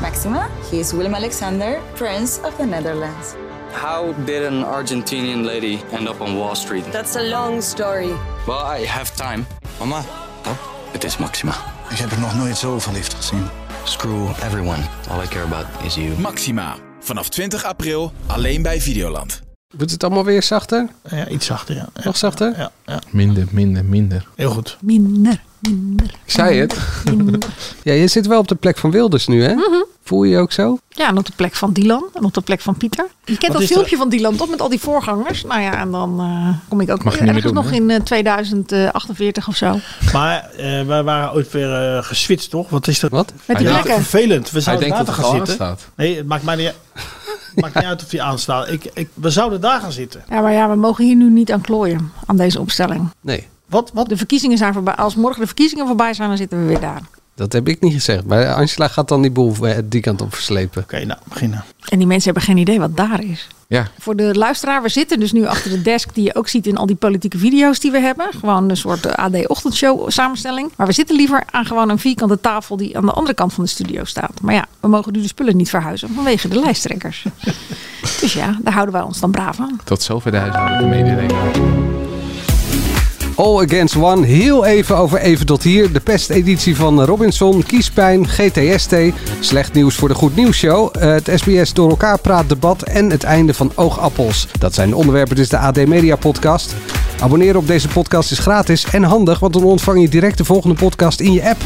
Maxima. He is Willem Alexander, Prince of the Netherlands. How did an Argentinian lady end up on Wall Street? That's a long story. Well, I have time. Mama, Het is Maxima. Ik heb er nog nooit zo verliefd gezien. Screw everyone. All I care about is you. Maxima. Vanaf 20 april alleen bij Videoland. Wordt het allemaal weer zachter? Ja, iets zachter, ja. Ja, Nog zachter? ja, ja. Minder, minder, minder. Heel goed. Minder, minder. Ik zei het. ja, je zit wel op de plek van Wilders nu, hè? Mhm. Voel je je ook zo? Ja, en op de plek van Dylan en op de plek van Pieter. Je kent dat is filmpje van Dylan toch met al die voorgangers? Nou ja, en dan eh, kom ik ook Mag je niet meer ergens doen, nog hè? in eh, 2048 of zo. Maar eh, wij waren ooit weer eh, geswitcht, toch? Wat is dat? Wat? Met die Ja, Ja, plekken. vervelend. We zouden daar gaan zitten. staat. Nee, het maakt mij niet, maakt niet uit of die aanstaat. Ik, ik, we zouden daar gaan zitten. Ja, maar ja, we mogen hier nu niet aan klooien, aan deze opstelling. Nee, Wat, wat De verkiezingen zijn voorbij. Als morgen de verkiezingen voorbij zijn, dan zitten we weer daar. dat heb ik niet gezegd. Maar Angela gaat dan die boel eh, die kant op verslepen. Oké, nou, beginnen. En die mensen hebben geen idee wat daar is. Ja. Voor de luisteraar, we zitten dus nu achter de desk die je ook ziet in al die politieke video's die we hebben. Gewoon een soort eh, AD-ochtendshow samenstelling. Maar we zitten liever aan gewoon een vierkante tafel die aan de andere kant van de studio staat. Maar ja, we mogen nu de spullen niet verhuizen vanwege de lijsttrekkers. dus ja, daar houden wij ons dan braaf aan. Tot zover de huishoudelijke mededeling. All Against One, heel even over even tot hier. De pesteditie van Robinson, Kiespijn, GTST. Slecht nieuws voor de Goed Nieuws Show. eh, Het SBS Door Elkaar Praat Debat en het einde van Oogappels. Dat zijn de onderwerpen, dus de AD Media Podcast. Abonneren op deze podcast is gratis en handig, want dan ontvang je direct de volgende podcast in je app.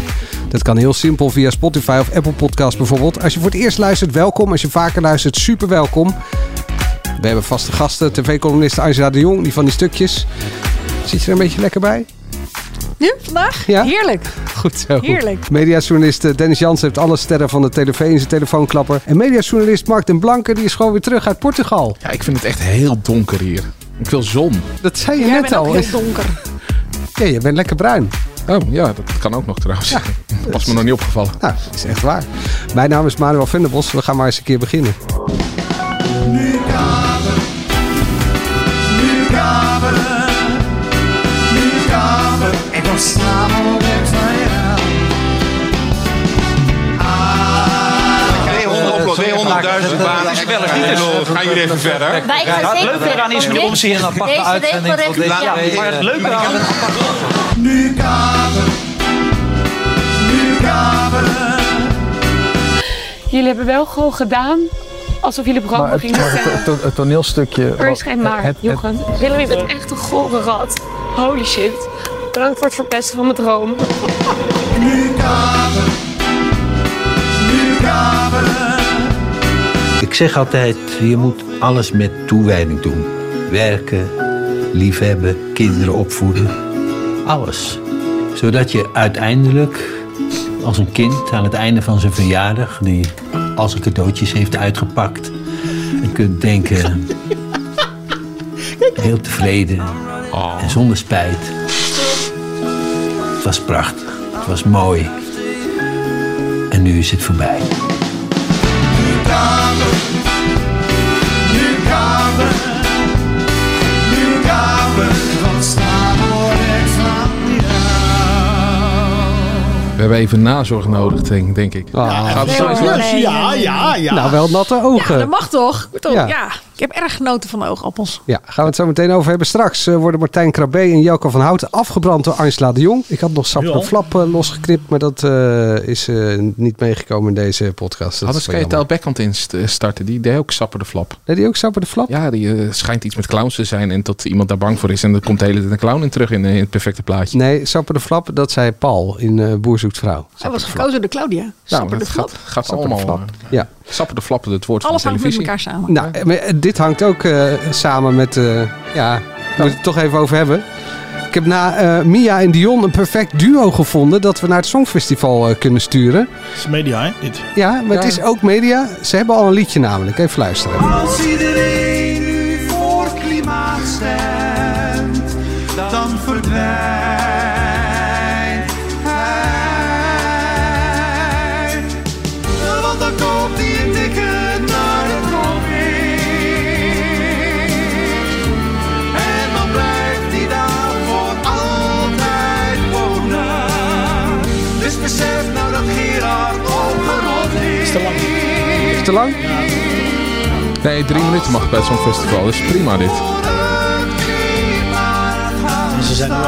Dat kan heel simpel via Spotify of Apple Podcast bijvoorbeeld. Als je voor het eerst luistert, welkom. Als je vaker luistert, super welkom. We hebben vaste gasten, tv-columniste Angela de Jong, die van die stukjes. Zit je er een beetje lekker bij? Nu, vandaag? Ja. Heerlijk. Goed zo. Heerlijk. Mediajournalist eh, Dennis Jans heeft alle sterren van de TV in zijn telefoonklapper. En mediajournalist Mark den Blanke die is gewoon weer terug uit Portugal. Ja, ik vind het echt heel donker hier. Ik wil zon. Dat zei je Jij net bent ook al. heel donker. Ja, je bent lekker bruin. Oh ja, dat kan ook nog trouwens. Was me nog niet opgevallen. Nou, dat is echt waar. Mijn naam is Manuel Venderbos. We gaan maar eens een keer beginnen. Gaan jullie even verder? Wij gaan ja, het leuke eraan is, om ze hier een aparte uitzending van deze week. Maar het leuke eraan... Jullie hebben wel gewoon gedaan alsof jullie brood gingen zijn. het toneelstukje. Er is geen maar, Jochen. Willem, je bent echt een gore rat. Holy shit. Bedankt voor het verpesten van mijn droom. Ik zeg altijd, je moet alles met toewijding doen. Werken, liefhebben, kinderen opvoeden. Alles. Zodat je uiteindelijk als een kind aan het einde van zijn verjaardag... die als een cadeautjes heeft uitgepakt... en kunt denken... heel tevreden Oh. en zonder spijt. Het was prachtig. Het was mooi. En nu is het voorbij. We hebben even nazorg nodig, denk, denk ik. Ah. Gaat het nee, zo- hoor. nee, ja, nee, ja, ja. Nou, wel natte Ja, ogen. dat mag toch? Toch, Ja. Ja. Ik heb erg genoten van de oogappels. Ja, gaan we het zo meteen over hebben. Straks eh, worden Martijn Krabbe en Jelko van Houten afgebrand door Angela de Jong. Ik had nog Sap Nu en al? Flap eh, losgeknipt, maar dat eh, is eh, niet meegekomen in deze podcast. Dat Hadden is ze wel Kate jammer. Backhand in st- starten? Die deed ook sapper de flap. Deed die ook Sap en de Flap? Ja, die eh, schijnt iets met clowns te zijn en dat iemand daar bang voor is. En dan komt de hele tijd een clown in terug in, eh, in het perfecte plaatje. Nee, Sapper de Flap, dat zei Paul in eh Boer zoekt vrouw. Hij was gekozen door Claudia. Nou, Sapper de dat flap. gaat, gaat Sapper de allemaal. Flap. eh, Ja. Sapper de flap, het woord Alles van de hangt met televisie. elkaar samen. Nou, eh, maar, eh, dit hangt ook eh, samen met... eh ja, daar moet ik het toch even over hebben. Ik heb na eh, Mia en Dion een perfect duo gevonden... dat we naar het Songfestival eh, kunnen sturen. Het is media, hè? Dit. Ja, maar het is ook media. Ze hebben al een liedje namelijk. Even luisteren. Als iedereen nu voor klimaat stemt, dan verdwijnt hij. Want dan komt hij een dikke naar de kop En dan blijft hij daar voor altijd wonen. Dus besef nou dat Gerard opgerot is. Is te lang. te lang? Nee, drie minuten mag bij zo'n festival. Dus prima dit. En ze zijn nu al,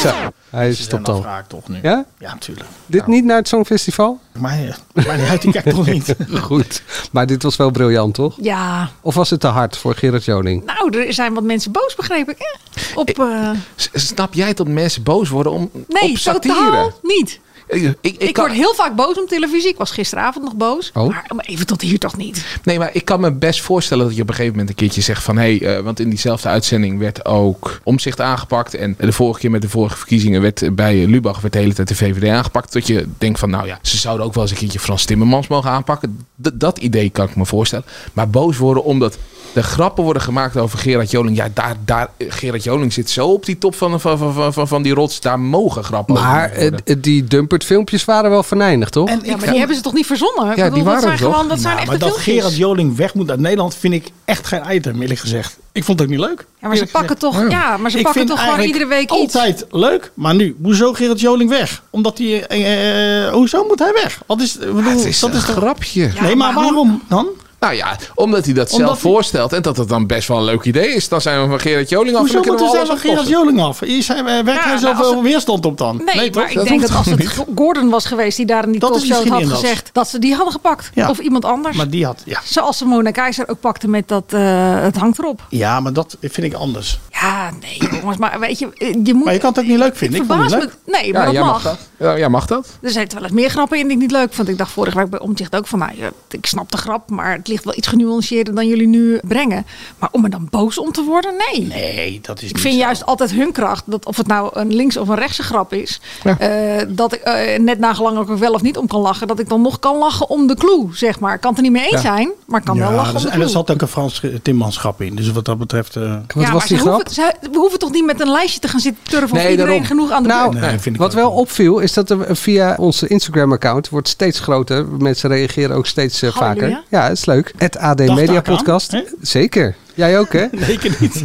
Zo, hij ze zijn stopt al al. vaak toch nu. Ja? Ja, natuurlijk. Dit niet naar het Songfestival? Maar, eh, maar die uit, die kijkt toch niet. Goed. Maar dit was wel briljant, toch? Ja, Of was het te hard voor Gerard Joning? nou, er zijn wat mensen boos, begreep ik. Hè? Op, eh, S- Snap jij dat mensen boos worden om, nee, op totaal satire? niet. Ik, ik, ik Ik kan- word heel vaak boos op televisie. Ik was gisteravond nog boos. Oh. Maar, maar even tot hier toch niet. Nee, maar ik kan me best voorstellen dat je op een gegeven moment een keertje zegt van... hé, hey, eh, want in diezelfde uitzending werd ook omzicht aangepakt... en de vorige keer met de vorige verkiezingen werd eh, bij eh, Lubach werd de hele tijd de VVD aangepakt... dat je denkt van, nou ja, ze zouden ook wel eens een keertje Frans Timmermans mogen aanpakken. D- dat idee kan ik me voorstellen. Maar boos worden omdat de grappen worden gemaakt over Gerard Joling. Ja, daar, daar, eh, Gerard Joling zit zo op die top van, van, van, van, van die rots. Daar mogen grappen Maar over worden. eh, die Dumpert filmpjes waren wel verneinigd, toch? En Ja, ik maar die hebben ze toch niet verzonnen? Ik Ja, die dat waren zijn er toch? gewoon, dat zijn Ja, echt maar de dat filmpjes. Gerard Joling weg moet uit Nederland vind ik echt geen item, eerlijk gezegd. Ik vond het ook niet leuk. Ja, maar ze eerlijk gezegd. pakken toch, ja, maar ze Ik pakken vind toch gewoon eigenlijk iedere week iets. altijd leuk, maar nu, hoezo Gerard Joling weg? Omdat hij, eh, eh, hoezo moet hij weg? Wat is, ik bedoel, Het is Oh, dat is een toch... grapje. nee, maar maar hoe- waarom dan? Nou ja, omdat hij dat Omdat zelf hij- voorstelt en dat het dan best wel een leuk idee is. Dan zijn we van Gerard Joling af Hoezo en dan moeten kunnen we we zijn alles van Gerard oplossen. Joling af? Hier zijn, eh, werkt Ja, hij nou, zoveel als weerstand op dan? Nee, toch? maar ik denk dat als het Gordon was geweest die daar in die Dat is talkshow het misschien had inderdaad. gezegd, dat ze die hadden gepakt. Ja. Of iemand anders. Maar die had, ja. Zoals ze Mona Keizer ook pakte met dat eh, het hangt erop. Ja, maar dat vind ik anders. Ja, nee jongens, maar weet je, eh, je moet... Maar je kan het ook niet leuk vinden. Ik vond het verbaas niet me. leuk. Nee, maar Ja, jij dat mag mag. dat. Ja, jij mag dat. Er zitten wel eens meer grappen in die ik niet leuk vond. Ik dacht vorige week bij Omtzigt ook van, nou, ja, ik snap de grap, maar het ligt wel iets genuanceerder dan jullie nu brengen. Maar om er dan boos om te worden, nee. Nee, dat is Ik vind juist altijd hun kracht, dat of het nou een links- of een rechtse grap is, eh, dat ik eh, net nagelang ook wel of niet om kan lachen, dat ik dan nog kan lachen om de clue, zeg maar. Ik kan het er niet mee eens zijn, maar ik kan wel lachen dat is- om de en er clue. zat ook een Frans eh, Timmanschap in. Dus wat dat betreft... eh, Wat ja, was maar die ze grap? hoeven, ze- we hoeven toch niet met een lijstje te gaan zitten turven of Nee, iedereen daarom. genoeg aan de Nou, beurt. nee, vind ik Wat wel opviel is dat er via onze Instagram-account wordt steeds groter. Mensen reageren ook steeds eh, Halleluja. vaker. Ja, dat is leuk. Het AD Dacht Media daar aan, Podcast. hè? Zeker. Jij ook, hè? Zeker niet.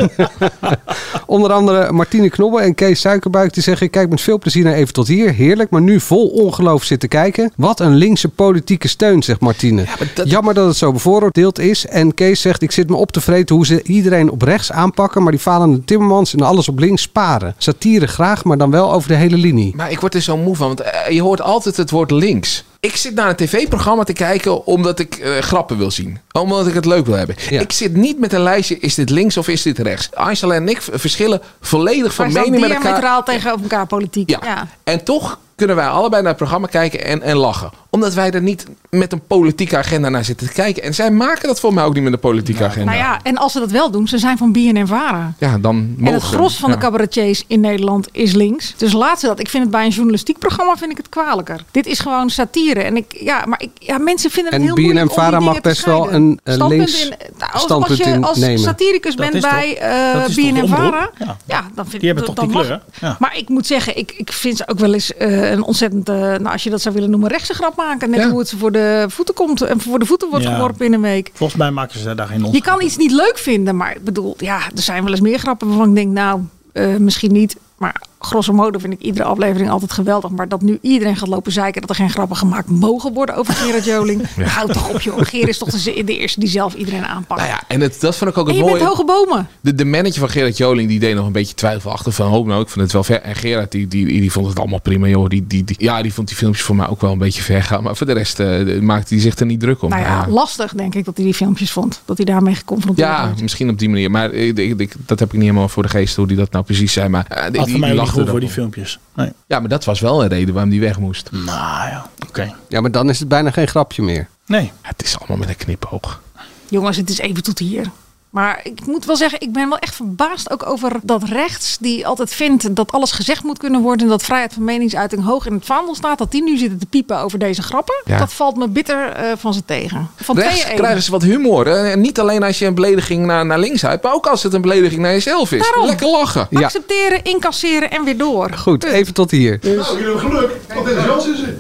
Onder andere Martine Knobbe en Kees Suikerbuik die zeggen... ik kijk met veel plezier naar Even Tot Hier. Heerlijk, maar nu vol ongeloof zitten kijken. Wat een linkse politieke steun, zegt Martine. Jammer dat het zo bevooroordeeld is. En Kees zegt, ik zit me op te vreten hoe ze iedereen op rechts aanpakken... maar die falende Timmermans en alles op links sparen. Satire graag, maar dan wel over de hele linie. Maar ik word er zo moe van, want eh, je hoort altijd het woord links. Ik zit naar een tv-programma te kijken omdat ik eh, grappen wil zien. Omdat ik het leuk wil hebben. Ja. Ik zit niet met een lijstje, is dit links of is dit rechts? Angela en ik v- verschillen volledig van Wij staan mening met elkaar. diametraal tegenover elkaar politiek. Ja. ja. En toch kunnen wij allebei naar het programma kijken en, en lachen. Omdat wij er niet met een politieke agenda naar zitten te kijken. En zij maken dat voor mij ook niet met een politieke agenda. Nou eh, ja, en als ze dat wel doen, ze zijn van BNN Vara. Ja, dan mogen En het gros van ja. de cabaretiers in Nederland is links. Dus laat ze dat. Ik vind het bij een journalistiek programma vind ik het kwalijker. Dit is gewoon satire. En ik, ja, maar ik, ja, mensen vinden het En heel BNN moeilijk om die Vara dingen mag te best wel scheiden. een, eh, Standpunt links nou, als, standpunt als je in als nemen. satiricus Dat bent is toch- bij eh, dat is toch de BNN Vara, omroep? ja. Ja. dan vind Die hebben dat- toch die dan kleur, mag- hè? Ja. Maar ik moet zeggen, ik, ik vind ze ook wel eens eh, een ontzettend, eh, nou, als je dat zou willen noemen, rechtse grap maken. Net Ja. hoe het ze voor de voeten komt en voor de voeten wordt Ja. geworpen in een week. Volgens mij maken ze daar geen ons. Je kan iets niet leuk vinden, maar ik bedoel, ja, er zijn wel eens meer grappen waarvan ik denk, nou, eh, misschien niet. Maar grosso modo vind ik iedere aflevering altijd geweldig. Maar dat nu iedereen gaat lopen zeiken dat er geen grappen gemaakt mogen worden over Gerard Joling. Houd toch op, joh. Gerard is toch de, de eerste die zelf iedereen aanpakt. Nou ja, en het, dat vond ik ook en het je mooie. bent hoge bomen. De, de manager van Gerard Joling die deed nog een beetje twijfelachtig van hoop nou, ik vond het wel ver. En Gerard die, die, die vond het allemaal prima joh. Die, die, die- ja, die vond die filmpjes voor mij ook wel een beetje ver gaan. Maar voor de rest eh, maakte hij zich er niet druk om. Nou ja, Ja. lastig denk ik dat hij die filmpjes vond. Dat hij daarmee geconfronteerd Ja, werd. misschien op die manier. Maar eh, ik, ik- ik- dat heb ik niet helemaal voor de geest hoe die dat nou precies zei. Maar eh, die, Had die- voor mij die ook niet lachte goed er voor die om. filmpjes. Nee. Ja, maar dat was wel een reden waarom die weg moest. Nou ja, oké. Ja, maar dan is het bijna geen grapje meer. Nee. Het is allemaal met een knipoog. Jongens, het is even tot hier. Maar ik moet wel zeggen, ik ben wel echt verbaasd ook over dat rechts, die altijd vindt dat alles gezegd moet kunnen worden en dat vrijheid van meningsuiting hoog in het vaandel staat, dat die nu zitten te piepen over deze grappen. Ja. Dat valt me bitter eh, van ze tegen. Van Rechts 2-1. krijgen ze wat humor. hè. En niet alleen als je een belediging naar, naar links uit, maar ook als het een belediging naar jezelf is. Daarom. Lekker lachen. Ja. Accepteren, incasseren en weer door. Goed, even tot hier. Nou, jullie hebben geluk. Want in de is ze.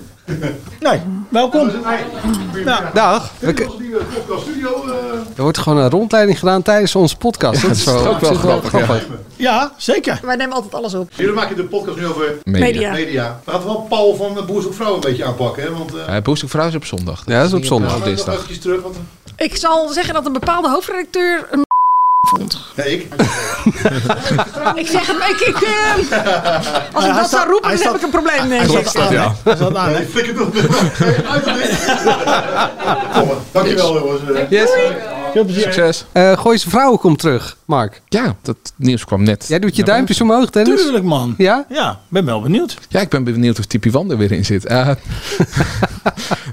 Nee, welkom. Nou, Dag. We k- eh, Er wordt gewoon een rondleiding gedaan tijdens onze podcast. dat is, is wel, ook wel op zich grappig, ja. ja, zeker. Wij nemen altijd alles op. Jullie maken de podcast nu over Media. media. We gaan wel Paul van eh, Boer Zoekt Vrouw een beetje aanpakken. Hè? Want, eh, Eh, Boer zoekt vrouw is op zondag. Ja, dat is op niet zondag. we gaan nog dinsdag. eventjes terug. Want, Ik zal zeggen dat een bepaalde hoofdredacteur een vond. nee, ik. Ik zeg het, ik, ik, eh, als ik hij dat staat- zou roepen, hij dan heb staat- ik een probleem. Nee, Hij zat aan, hè? Hij zat aan, hè? Nee, flikker toch. Uit de Kom maar. Dankjewel jongens. Eh, Yes. Veel plezier. Succes. Eh Gooise vrouwen komt terug, Mark. Ja, dat nieuws kwam net. Jij doet je naar duimpjes omhoog, Dennis. Tuurlijk, man. dus- Ja? Ja, ben wel benieuwd. boven. Ja, ik ben benieuwd of Tipi Wan er weer in zit. Eh,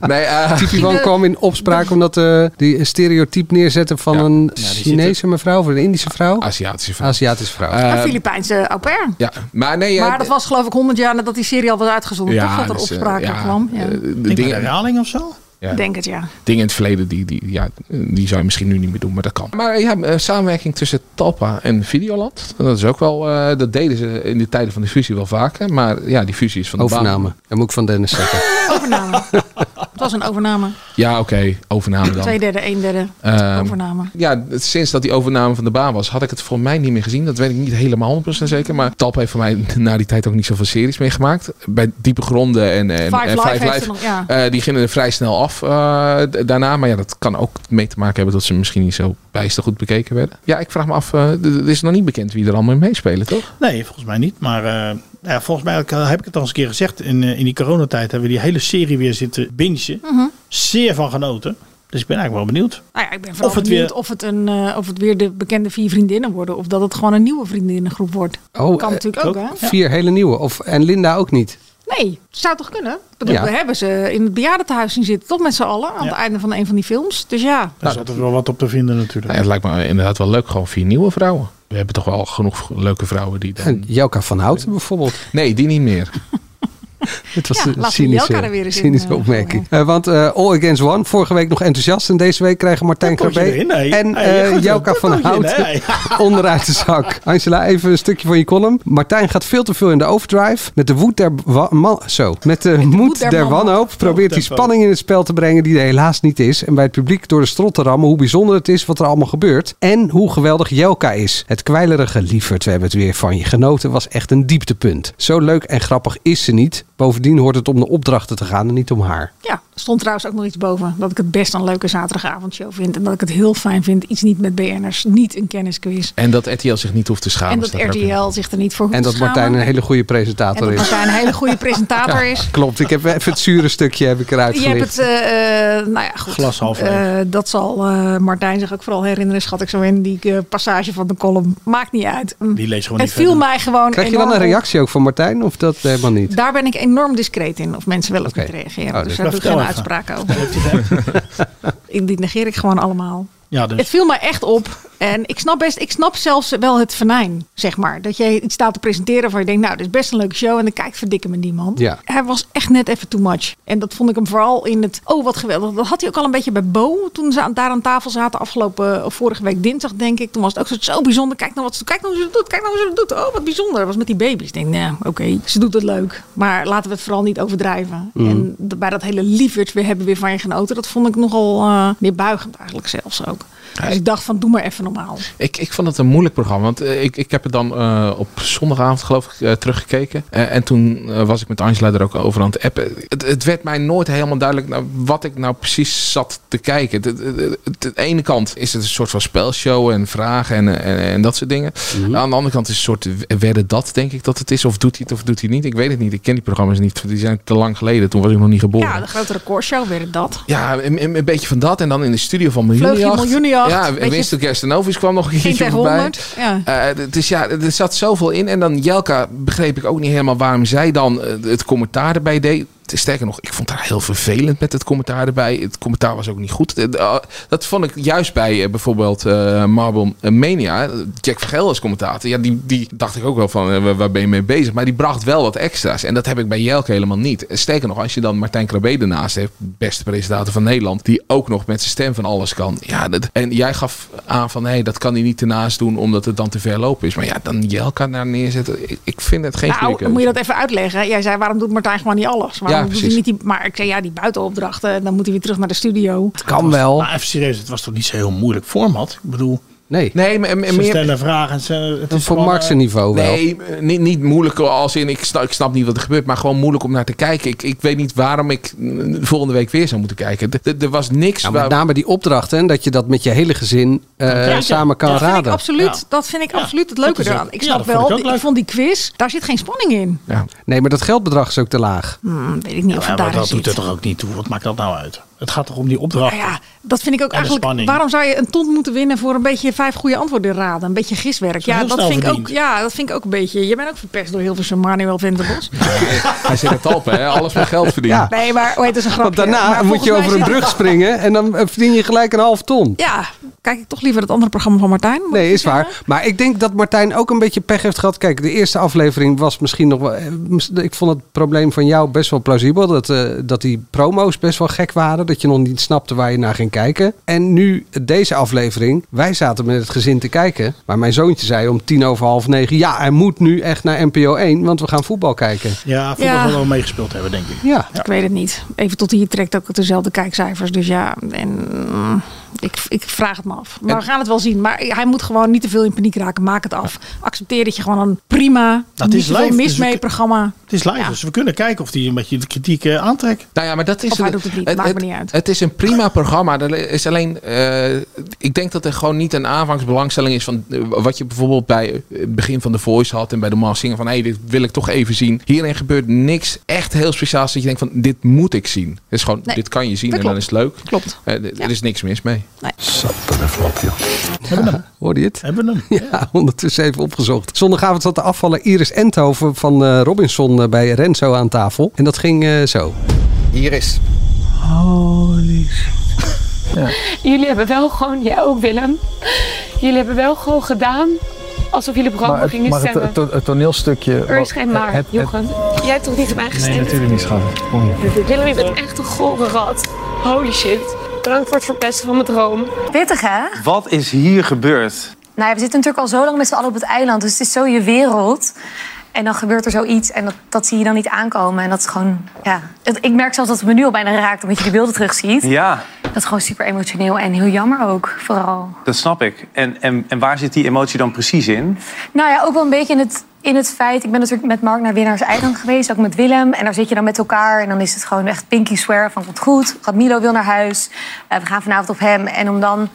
nee, eh, Tipi Wan de- kwam in opspraak omdat eh, die een stereotype neerzetten van Ja. een die zit Chinese mevrouw of een Indische vrouw. Aziatische vrouw. Aziatische vrouw. Ah, Eh, een Filipijnse au pair. ja, maar nee. eh, Maar dat was geloof ik 100 jaar nadat die serie al was uitgezonden. toch dat er dus, eh, opspraak ja, kwam. Ja. eh, de Ik denk een dingen, herhaling of zo. ja, Ik denk het ja. dingen in het verleden die, die, ja, die zou je misschien nu niet meer doen, maar dat kan. Maar eh, ja, eh, samenwerking tussen Talpa en Videoland. Dat is ook wel. eh, dat deden ze in de tijden van de fusie wel vaker. Maar ja, die fusie is van de baan. Overname. Dat moet ik van Dennis zeggen. Overname. het was een overname. Ja, oké. overname dan. Twee derde, een derde. Ehm, overname. Ja, sinds dat die overname van de baan was, had ik het voor mij niet meer gezien. Dat weet ik niet helemaal 100% zeker. Maar Talpa heeft voor mij na die tijd ook niet zoveel series meegemaakt. Bij Diepe Gronden en, en, Five en Live heeft er nog- ja. eh, die gingen er vrij snel af eh, d- daarna. Maar ja, dat kan ook mee te maken hebben dat ze misschien niet zo bijster goed bekeken werden. Ja, ik vraag me af, eh, d- d- het is nog niet bekend wie er allemaal in meespelen, toch? Nee, volgens mij niet. Maar eh, nou ja, volgens mij heb ik- heb ik het al eens een keer gezegd. In, eh, in die coronatijd hebben we die hele serie weer zitten bingen. Zeer van genoten. Dus ik ben eigenlijk wel benieuwd. Nou ja, ik ben vooral Of het benieuwd weer- of, het een, eh, of het weer de bekende vier vriendinnen worden. Of dat het gewoon een nieuwe vriendinnengroep wordt. Oh, kan eh, natuurlijk ook, hè? Vier hele nieuwe. Of, en Linda ook niet. Nee, het zou toch kunnen? Ik bedoel, Ja. We hebben ze in het bejaardentehuis zien zitten. Toch met z'n allen aan Ja. het einde van een van die films. Dus ja, Daar zat er wel wat op te vinden natuurlijk. Nou, ja, het lijkt me inderdaad wel leuk, gewoon vier nieuwe vrouwen. We hebben toch wel genoeg leuke vrouwen die En dan... Jelka van Houten bijvoorbeeld. Nee, die niet meer. Het was Ja, laten een we cynische, Jelka er weer eens in, cynische eh, opmerking. Eh, want eh, All Against One, vorige week nog enthousiast. En deze week krijgen Martijn Daar komt je Krabbe erin, hè? en Hey, je eh, gooit er Jelka een van potloodje in, Houten hè? onderuit de zak. Angela, even een stukje van je column. Martijn gaat veel te veel in de overdrive. Met de woed der, wa- man- zo. Met de moed der der, wanhoop. wanhoop probeert hij Tempo. spanning in het spel te brengen die er helaas niet is. En bij het publiek door de strot te rammen hoe bijzonder het is wat er allemaal gebeurt. En hoe geweldig Jelka is. Het kwijlerige lieverd, we hebben het weer van je genoten, was echt een dieptepunt. Zo leuk en grappig is ze niet. Bovendien hoort het om de opdrachten te gaan en niet om haar. ja, er stond trouwens ook nog iets boven. Dat ik het best een leuke zaterdagavondshow vind. En dat ik het heel fijn vind. Iets niet met BN'ers. Niet een kennisquiz. En dat RTL zich niet hoeft te schamen. en dat staat er ook in. RTL zich er niet voor hoeft En te dat Martijn schamen. een hele goede En presentator dat is. Martijn een hele goede presentator is. Klopt, ik heb even het zure stukje heb ik eruit Je hebt het, gelicht. eh, eh, nou ja, goed. Glas half leeg. Eh, dat zal eh, Martijn zich ook vooral herinneren, schat ik zo in die eh, passage van de column. Maakt niet uit. Mm. Die leest gewoon het niet viel mij gewoon. Krijg je dan eh, enorm een op. reactie ook van Martijn of dat helemaal niet? Daar ben ik enorm discreet in, of mensen wel of Oké. niet reageren. Oh, dus dus- daar doe ik Nou, vertel geen uitspraken over. Ik- Die negeer ik gewoon allemaal. Ja, dus. Het viel mij echt op. En ik snap best, ik snap zelfs wel het vernijn, zeg maar. Dat je iets staat te presenteren waarvan je denkt, nou, dit is best een leuke show. En dan kijkt verdikken me niemand. Ja. Hij was echt net even too much. En dat vond ik hem vooral in het, oh wat geweldig. Dat had hij ook al een beetje bij Bo, toen ze aan, daar aan tafel zaten afgelopen, of vorige week dinsdag denk ik. Toen was het ook zo, zo bijzonder. Kijk nou wat ze kijk nou hoe ze het doet, kijk nou hoe ze het doet. Oh, wat bijzonder. Dat was met die baby's. Ik denk, nou, oké, ze doet het leuk. Maar laten we het vooral niet overdrijven. En d- bij dat hele lieverd weer hebben weer van je genoten, dat vond ik nogal eh neerbuigend eigenlijk zelfs ook. Dus ik dacht van, doe maar even normaal. Ik, ik vond het een moeilijk programma. Want eh, ik, ik heb het dan eh, op zondagavond geloof ik eh, teruggekeken. Eh, en toen eh, was ik met Angela er ook over aan het appen. Het, het werd mij nooit helemaal duidelijk nou, wat ik nou precies zat te kijken. De, de, de- de ene kant is het een soort van spelshow en vragen en, eh, en, en dat soort dingen. Aan de andere kant is het een soort werden dat denk ik dat het is. Of doet hij het of doet hij niet. Ik weet het niet. Ik ken die programma's niet. Die zijn te lang geleden. Toen was ik nog niet geboren. Ja, de grote recordshow weer het dat. Ja, een, een- een beetje van dat. En dan in de studio van je Miljoenenjacht. Miljoenenjacht, Ja, beetje- Winston Kerstenovis kwam nog een 1 keertje tegen voorbij. 100. Ja. Eh, d- dus ja, er zat zoveel in. En dan Jelka begreep ik ook niet helemaal waarom zij dan eh, het commentaar erbij deed. Sterker nog, ik vond haar heel vervelend met het commentaar erbij. Het commentaar was ook niet goed. Eh, d- ah, Dat vond ik juist bij eh, bijvoorbeeld eh, Marble Mania. Jack Vergel als commentator. Ja, die, die dacht ik ook wel van, eh, waar- waar ben je mee bezig? Maar die bracht wel wat extra's. En dat heb ik bij Jelka helemaal niet. Eh, Sterker nog, als je dan Martijn Krabbe ernaast hebt. Beste presentator van Nederland. Die ook nog met zijn stem van alles kan. Ja, dat, en jij gaf aan van, hé, dat kan hij niet ernaast doen. Omdat het dan te ver lopen is. Maar ja, dan Jelka naar neerzetten. Ik, ik vind het geen goede Nou, keuze. moet je dat even uitleggen. Jij zei, waarom doet Martijn gewoon niet alles? Waarom Ja, hoef je precies. niet die, maar ik zei, ja, die buitenopdrachten, dan moet hij weer terug naar de studio. Het kan wel. Maar even serieus, het was toch niet zo heel moeilijk format? Ik bedoel, Nee. Nee, maar, maar- ze meer- stellen vragen. en Ze, het is Voor gewoon, Max eh, niveau wel. Nee, eh, niet, niet moeilijk als in ik snap, ik snap niet wat er gebeurt, maar gewoon moeilijk om naar te kijken. Ik, ik weet niet waarom ik mm, volgende week weer zou moeten kijken. D- d- Er was niks. Ja, waar- met name die opdrachten, en dat je dat met je hele gezin eh, kijken. samen kan Ja, Dat vind ik raden. absoluut, Ja. dat vind ik Ja, absoluut het dat leuke is ook- eraan. Ik ja, snap dat vond ik wel, ook ik, leuk. vond die quiz, daar zit geen spanning in. ja. Nee, maar dat geldbedrag is ook te laag. Hmm, weet ik niet of Ja, het maar daarin dat doet er zit. toch ook niet toe? Wat maakt dat nou uit? Het gaat toch om die opdracht. Nou ja, dat vind ik ook de eigenlijk. spanning. Waarom zou je een ton moeten winnen voor een beetje vijf goede antwoorden raden? Een beetje giswerk. is Ja, heel dat snel vind ik ook, verdiend. ja, dat vind ik ook een beetje. Je bent ook verpest door heel veel Manuel Venterbos. Hij zit het talpen, hè? alles met geld verdienen. Ja. Nee, maar hoe heet dat is een grapje. Want daarna Maar moet volgens je mij over een zit brug het- springen en dan eh, verdien je gelijk een half ton. Ja, kijk ik toch liever het andere programma van Martijn. moet Nee, ik is waar. zeggen. Maar ik denk dat Martijn ook een beetje pech heeft gehad. Kijk, de eerste aflevering was misschien nog wel. eh, mis- Ik vond het probleem van jou best wel plausibel. Dat, eh, dat die promo's best wel gek waren. Dat je nog niet snapte waar je naar ging kijken. En nu deze aflevering. Wij zaten met het gezin te kijken. Maar mijn zoontje zei om tien over half negen. Ja, hij moet nu echt naar NPO 1. Want we gaan voetbal kijken. Ja, voetbal Ja. wil wel meegespeeld hebben, denk ik. Ja. Ik weet het niet. Even tot hier trekt ook dezelfde kijkcijfers. Dus ja, en mm, ik, ik vraag het me af. Maar we gaan het wel zien. Maar hij moet gewoon niet te veel in paniek raken. Maak het af. Accepteer dat je gewoon een prima, Dat niet is te veel live, mis dus we mee kun- programma. Het is live, Ja. dus we kunnen kijken of die een beetje de kritiek eh, aantrekt. Nou ja, maar dat is Of hij doet het niet, maakt me niet uit. Het is een prima programma. Er is alleen, eh, ik denk dat er gewoon niet een aanvangsbelangstelling is van eh, wat je bijvoorbeeld bij eh, het begin van The Voice had en bij de Masked Singer van hé, hey, dit wil ik toch even zien. Hierin gebeurt niks echt heel speciaals dat je denkt van dit moet ik zien. Het is gewoon, Nee, dit kan je zien en dat dan is het leuk. Klopt. Eh, d- Ja. Er is niks mis mee. Hoorde je het? Hebben we hem? Ja, ondertussen even opgezocht. Zondagavond zat de afvaller Iris Enthoven van eh, Robinson eh, bij Renzo aan tafel. En dat ging eh, zo. Hier is. Jullie hebben wel gewoon, jij ook Willem, jullie hebben wel gewoon gedaan alsof jullie programma Maar, het, gingen maar het, stemmen. het, het toneelstukje. er is wat- geen maar, het- het- Jochen. Jij hebt toch niet op mij gestemd? Nee, natuurlijk niet, schat. Kom hier. Willem, je bent echt een gore rat. Holy shit. Bedankt voor het verpesten van mijn droom. Pittig, hè? Wat is hier gebeurd? Nou ja, we zitten natuurlijk al zo lang met z'n allen op het eiland. Dus het is zo je wereld. En dan gebeurt er zoiets en dat, dat zie je dan niet aankomen. En dat is gewoon, ja... Het- ik merk zelfs dat het me nu al bijna raakt, omdat je die beelden terugziet. Ja, Dat is gewoon super emotioneel en heel jammer ook, vooral. dat snap ik. En, en, en waar zit die emotie dan precies in? Nou ja, ook wel een beetje in het, in het feit... Ik ben natuurlijk met Mark naar Winnaars Eiland geweest, ook met Willem. En daar zit je dan met elkaar en dan is het gewoon echt pinky swear van... komt goed, gaat Milo wil naar huis, eh, we gaan vanavond op hem. En om dan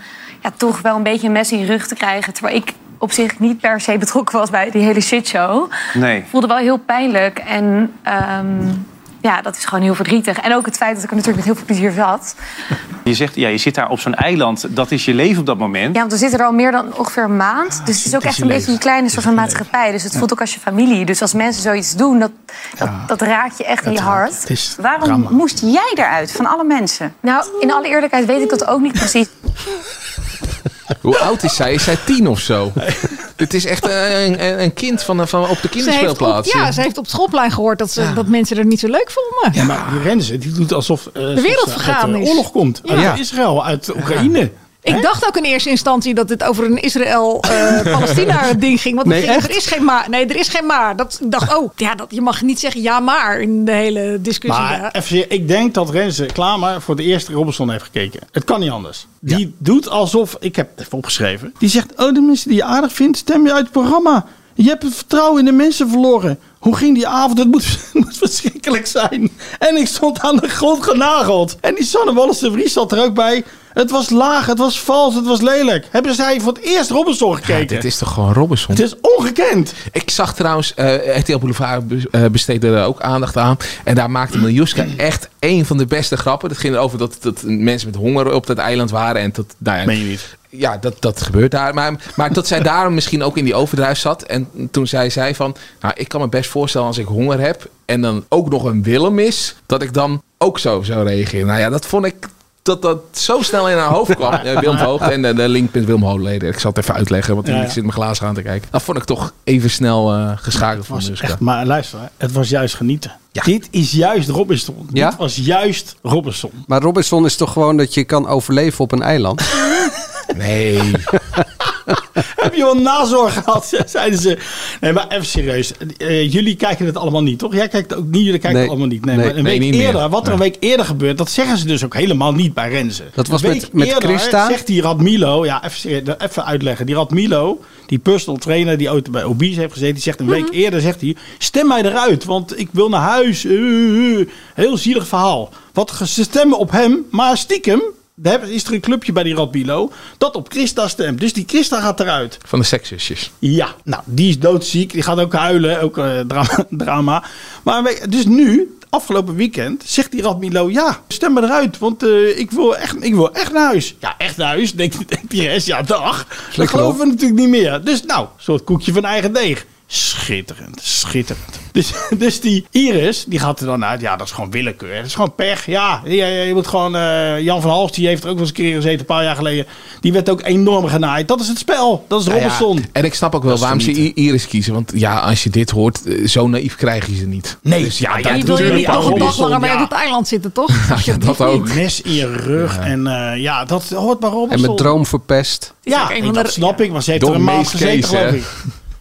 ja, toch wel een beetje een mes in je rug te krijgen... terwijl ik op zich niet per se betrokken was bij die hele shitshow... Nee. voelde wel heel pijnlijk en... ehm, ja, dat is gewoon heel verdrietig. En ook het feit dat ik er natuurlijk met heel veel plezier zat. Je zegt, ja, je zit daar op zo'n eiland. Dat is je leven op dat moment. Ah, Ja, want we zitten er al meer dan ongeveer een maand. Dus het is ook echt een beetje een kleine soort van maatschappij. Dus het voelt ook als je familie. Dus als mensen zoiets doen, dat, dat, dat raakt je echt in je hart. Waarom moest jij eruit van alle mensen? Nou, in alle eerlijkheid weet ik dat ook niet precies. Hoe oud is zij? Is zij tien of zo? Het is echt eh, een, een, een kind van, van op de Ze heeft op, kinderspeelplaats. ja, ze heeft op het schoolplein gehoord dat, ze, dat mensen er niet zo leuk vonden. Ja, maar die Renze, die doet alsof eh, alsof wereld ze vergaan uit, eh, is. oorlog komt. Ja. Uit Ja. Israël, uit Oekraïne. Ik dacht ook in eerste instantie dat het over een Israël-Palestina-ding ging. Want het Nee, ging, echt? er is geen maar. Nee, er is geen maar. Dat, ik dacht, oh, ja, dat, je mag niet zeggen ja maar in de hele discussie. Maar eh, daar. even, ik denk dat Renze Klamer voor de eerste Robinson heeft gekeken. Het kan niet anders. Die doet alsof, ik heb het even opgeschreven. Die zegt, oh de mensen die je aardig vindt, stem je uit het programma. Je hebt het vertrouwen in de mensen verloren. Hoe ging die avond? Het moet, moet verschrikkelijk zijn. En ik stond aan de grond genageld. En die Sanne Wallis de Vries zat er ook bij. Het was laag, het was vals, het was lelijk. Hebben zij voor het eerst Robinson gekeken? Dit is toch gewoon Robinson? Het is ongekend. Ik zag trouwens, eh RTL Boulevard be- eh, besteedde er ook aandacht aan. En daar maakte Miljuska echt één van de beste grappen. Het ging erover dat, dat mensen met honger op dat eiland waren. En dat, nou ja, Meen je niet? Ja, dat, dat gebeurt daar. Maar, maar dat zij daarom misschien ook in die overdrijf zat. En toen zij zei van, nou, ik kan me best voorstellen als ik honger heb... en dan ook nog een Willem is, dat ik dan ook zo zou reageren. Nou ja, dat vond ik... Dat dat zo snel in haar hoofd kwam. Eh, Willem Hoog en de, de linkpunt Willem Hoogleden. Ik zal het even uitleggen, want Ja, ik ja. zit mijn glazen aan te kijken. Dat vond ik toch even snel eh, geschakeld van was Muska. echt, maar luister, hè, het was juist genieten. Dit is juist Robinson. Ja? Dit was juist Robinson. Maar Robinson is toch gewoon dat je kan overleven op een eiland? Nee. Heb je wel nazorg gehad? Zeiden ze. Nee, maar even serieus. Eh, jullie kijken het allemaal niet, toch? Jij kijkt het ook niet, jullie kijken Nee. het allemaal niet. Nee, Nee, maar een nee, week niet meer. eerder, wat er een week eerder gebeurt, dat zeggen ze dus ook helemaal niet bij Renzen. Dat was Een met- week met eerder Christa. zegt die Radmilo, ja, even, serieus, even uitleggen. Die Radmilo, die personal trainer die ooit bij Obese heeft gezeten, die zegt een week eerder, zegt hij, stem mij eruit, want ik wil naar huis. Eh, eh, eh. Heel zielig verhaal. Wat ge- ze stemmen op hem, maar stiekem daar hebben- is er een clubje bij die Radmilo dat op Christa stemt. Dus die Christa gaat eruit. Van de sekszusjes. Ja, nou, die is doodziek. Die gaat ook huilen. Ook eh, drama, drama. Maar we- dus nu, afgelopen weekend, zegt die Radmilo... Ja, stem me eruit, want eh, ik, wil echt, ik wil echt naar huis. Ja, echt naar huis, denkt denkt die rest. Ja, dag. Dat lekker geloven we natuurlijk niet meer. Dus nou, een soort koekje van eigen deeg. Schitterend, schitterend. Dus, dus die Iris, die gaat er dan uit. Ja, dat is gewoon willekeur. Dat is gewoon pech. Ja, je, je- je moet gewoon... eh, Jan van Hals, die heeft er ook wel eens een keer gezeten, een paar jaar geleden. Die werd ook enorm genaaid. Dat is het spel. Dat is Nou ja, Robinson. en ik snap ook wel Dat is waarom ze genieten. I- Iris kiezen. Want ja, als je dit hoort, eh, zo naïef krijg je ze niet. Nee, Dus ja, dat- ja, Die wil je niet natuurlijk nog een dag Robinson, langer bij ja. op het eiland zitten, toch? Ja, dat ook. Mes in je rug en eh, ja, dat hoort bij En Robinson. met droom verpest. Ja, Is ook een ik- van de- dat snap ik, maar ze heeft Door er een maand Mees gezeten, Kees, geloof hè? ik.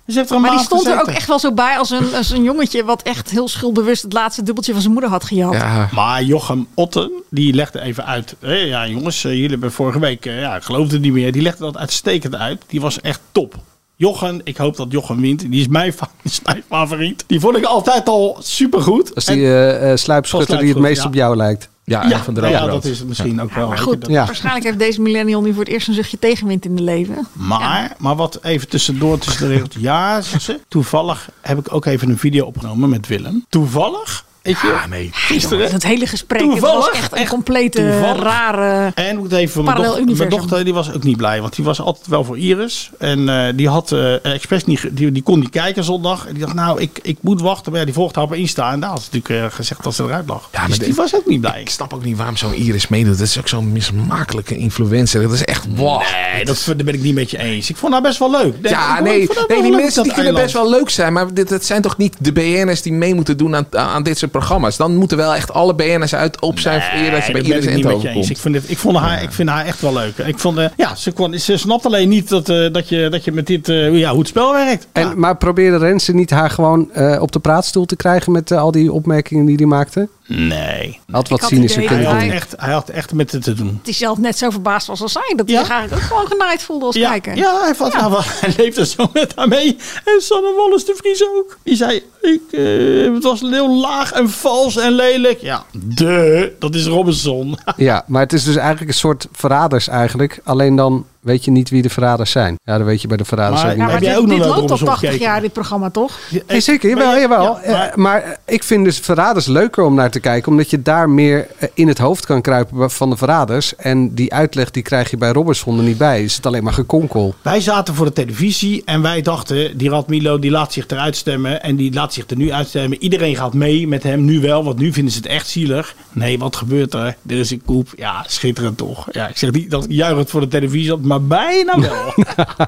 Ze heeft er een Maar die maand stond er ook gezeten. echt wel zo bij als een, als een jongetje... wat echt heel schuldbewust het laatste dubbeltje van zijn moeder had Oh. gejat. Maar Jochem Otten, die legde even uit. Hé, ja, jongens, eh, jullie hebben vorige week, eh, ja, ik geloofde het niet meer. Die legde dat uitstekend uit. Die was echt top. Jochem, ik hoop dat Jochem wint. Die is mijn, fa- is mijn favoriet. Die vond ik altijd al supergoed. Dat is die eh, eh, sluipschutter die het meest Ja. op jou lijkt. Ja, ja, nou ja, dat is het misschien ook wel. Maar weet je, goed, dat- waarschijnlijk heeft deze millennial nu voor het eerst een zuchtje tegenwind in de leven. Eh, Maar, maar wat even tussendoor tussen de regels. Ja, zegt ze, toevallig heb ik ook even een video opgenomen met Willem. Toevallig? Ik, ja, nee. Gisteren. Dat hele gesprek Dus het Toevallig, was echt een complete toevallig. rare... En ik moet even voor mijn Parallel dochter, mijn universum. dochter die was ook niet blij, want die was altijd wel voor Iris. En eh, die had eh, expres niet, ge- die, die kon niet kijken zondag. En die dacht, nou, ik, ik moet wachten. Maar ja, die volgde haar op Insta en daar had ze natuurlijk eh, gezegd dat ze eruit lag. Ja, maar dus de- die was ook niet blij. Ik snap ook niet waarom zo'n Iris meedoet. Dat is ook zo'n mismakelijke influencer. Dat is echt wow. Nee, dat, daar ben ik niet met je eens. Ik vond haar best wel leuk. ja, nee, nee, die mensen die kunnen best wel leuk zijn, maar dit, dat zijn toch niet de BN'ers die mee moeten doen aan, aan dit soort programma's. Dan moeten wel echt alle BN'ers uit op zijn eer dat je bij Nee, dat Iris ben ik niet met Ent je eens. Ik, overkomt. vind het, ik, vond haar, ik vind haar echt wel leuk. Ik vond, eh, ja, ze, kon, ze snapt alleen niet dat, eh, dat, je, dat je met dit, eh, ja, hoe het spel werkt. Ah, En, Maar probeerde Rensen niet haar gewoon eh, op de praatstoel te krijgen met eh, al die opmerkingen die hij maakte? Nee. Had wat had cynische idee kunnen Hij doen. had, echt, hij had echt met het te doen. die zelf net zo verbaasd was als zij. Dat hij zich eigenlijk ook gewoon genaaid voelde als Ja, kijker. ja, hij, valt, Hij, hij leefde zo met haar mee. En Sanne Wallis de Vries ook. Die zei, ik, eh, het was heel laag en vals en lelijk. Ja, de, dat is Robinson. Ja, maar het is dus eigenlijk een soort verraders eigenlijk. Alleen dan weet je niet wie de verraders zijn. Ja, dat weet je bij de verraders Maar- ook Ja, niet. maar Dit, Jij ook nog dit naar loopt al Robinson 80 gekeken. jaar, dit programma, toch? Nee, zeker, jawel, jawel. Eh, maar... ik vind dus verraders leuker om naar te kijken. Omdat je daar meer eh, in het hoofd kan kruipen van de verraders. En die uitleg die krijg je bij Robinson er niet bij. Is het alleen maar gekonkel. Wij zaten voor de televisie en wij dachten, die Rad Milo die laat zich eruit stemmen en die laat zich er nu uitstemmen. Iedereen gaat mee met hem nu wel, want nu vinden ze het echt zielig. Nee, wat gebeurt er? Er is een koep. Ja, schitterend toch. Ja, ik zeg niet dat ik juichend voor de televisie zat, maar bijna wel.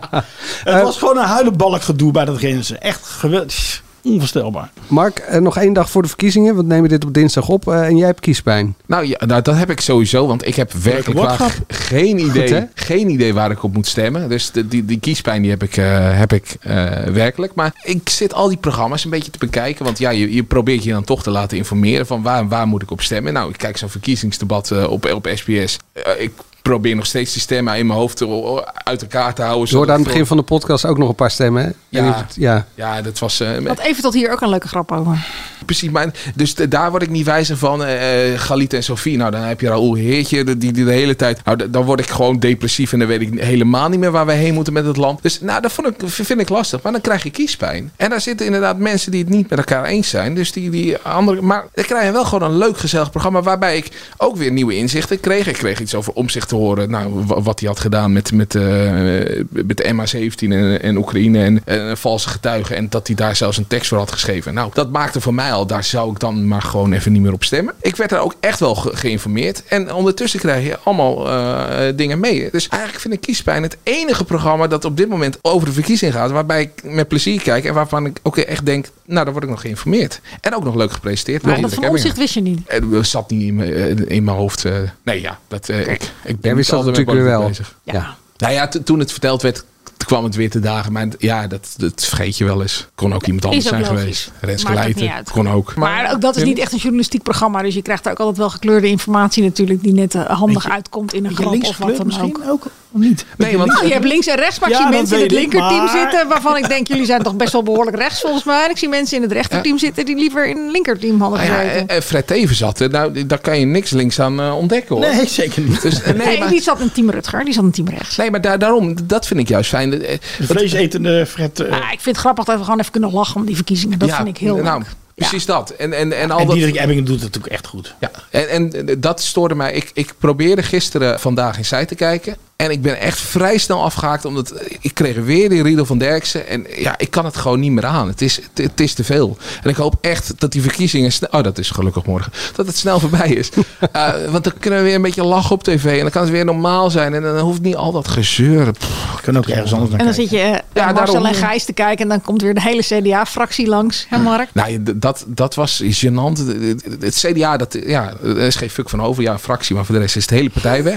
het was gewoon een huilenbalk gedoe bij dat grenzen. Echt geweldig. Onvoorstelbaar. Mark, eh, nog één dag voor de verkiezingen. Want nemen we dit op dinsdag op. eh, en jij hebt kiespijn. Nou, ja, nou, dat heb ik sowieso, want ik heb werkelijk waar woordgrap. geen idee, hè? geen idee waar ik op moet stemmen. Dus de- die, die kiespijn die heb ik, eh, heb ik eh, werkelijk. Maar ik zit al die programma's een beetje te bekijken, want ja, je, je probeert je dan toch te laten informeren van waar, waar moet ik op stemmen. Nou, ik kijk zo'n verkiezingsdebat eh, op, op SBS. Eh, ik probeer nog steeds die stemmen in mijn hoofd te- uit elkaar te houden. Je hoorde aan het zodat ik begin van de podcast ook nog een paar stemmen. hè? Ik weet niet of Ja, het- ja. ja. dat was... eh, Want even tot hier ook een leuke grap over. Precies, maar dus de- daar word ik niet wijzer van. eh eh, Galit en Sofie, nou dan heb je Raoul Heertje, de- die, die de hele tijd... Nou, d- dan word ik gewoon depressief en dan weet ik helemaal niet meer waar we heen moeten met het land. Dus nou, dat vond ik, vind ik lastig, maar dan krijg je kiespijn. En daar zitten inderdaad mensen die het niet met elkaar eens zijn. Dus die, die andere... Maar dan krijg je wel gewoon een leuk gezellig programma waarbij ik ook weer nieuwe inzichten kreeg. Ik kreeg iets over omzicht te horen, nou, wa- wat hij had gedaan met, met, eh, eh, met de MH17 en, en Oekraïne en, en valse getuigen. En dat hij daar zelfs een tekst voor had geschreven. Nou, dat maakte voor mij al, daar zou ik dan maar gewoon even niet meer op stemmen. Ik werd daar ook echt wel ge- geïnformeerd. En ondertussen krijg je allemaal eh, dingen mee. Dus eigenlijk vind ik Kiespijn het enige programma dat op dit moment over de verkiezing gaat. Waarbij ik met plezier kijk en waarvan ik ook echt denk, nou, daar word ik nog geïnformeerd. En ook nog leuk gepresenteerd. Maar dat Natuurlijk, van hè, omzicht wist je niet. eh, Dat zat niet in mijn, eh, in mijn hoofd. eh. nee, ja, dat, eh, ik, ik ben Jij wist niet dat altijd met natuurlijk weer politiek wel. bezig. Nou ja, t- toen het verteld werd, t- Toen kwam het weer te dagen. Maar ja, dat, dat vergeet je wel eens. Kon ook iemand anders ook zijn logisch. geweest. Maakt Renske ook niet Leijten uit. kon ook. Maar, ook dat is niet echt een journalistiek programma. Dus je krijgt daar ook altijd wel gekleurde informatie natuurlijk. Die net eh, handig uitkomt in een beetje grap of wat linkskleur dan ook. misschien niet. Nee, want- Nou, je hebt links en rechts, maar ik Ja, zie dat mensen in het weet ik, linkerteam maar- zitten... waarvan ik denk, jullie zijn toch best wel behoorlijk rechts volgens mij. En ik zie mensen in het rechterteam zitten die liever in het linkerteam Ah hadden Nou ja, gezeten. eh, eh, Fred Teven zat er. Nou, die- daar kan je niks links aan eh, ontdekken hoor. Nee, zeker niet. Dus, eh, nee, nee, maar, die zat in team Rutger, die zat in team rechts. nee, maar daar, daarom, dat vind ik juist fijn. Eh, dat- Vleesetende Fred. eh, Ah, ik vind het grappig dat we gewoon even kunnen lachen om die verkiezingen. Dat Ja, vind ik heel nou, leuk. Precies dat. En, en, en, al en dat... Diederik Ebbingen doet het ook echt goed. Ja, en, en dat stoorde mij. Ik, ik probeerde gisteren vandaag in zij te kijken. En ik ben echt vrij snel afgehaakt. Omdat ik kreeg weer die Riedel van Derksen. En ja, ik kan het gewoon niet meer aan. Het is, het, het is te veel. En ik hoop echt dat die verkiezingen... sne- Oh, dat is gelukkig morgen. Dat het snel voorbij is. Eh, want dan kunnen we weer een beetje lachen op tv. En dan kan het weer normaal zijn. En dan hoeft niet al dat gezeur. Pff, Kunnen ook ergens anders naar En dan kijken. zit je eh, Ja, Marcel daarom. en Gijs te kijken... en dan komt weer de hele CDA-fractie langs, hè Mark? Nou, ja, d- dat, dat was gênant. Het CDA, dat, ja, er is geen fuck van over. Ja, een fractie, maar voor de rest is de hele partij weg.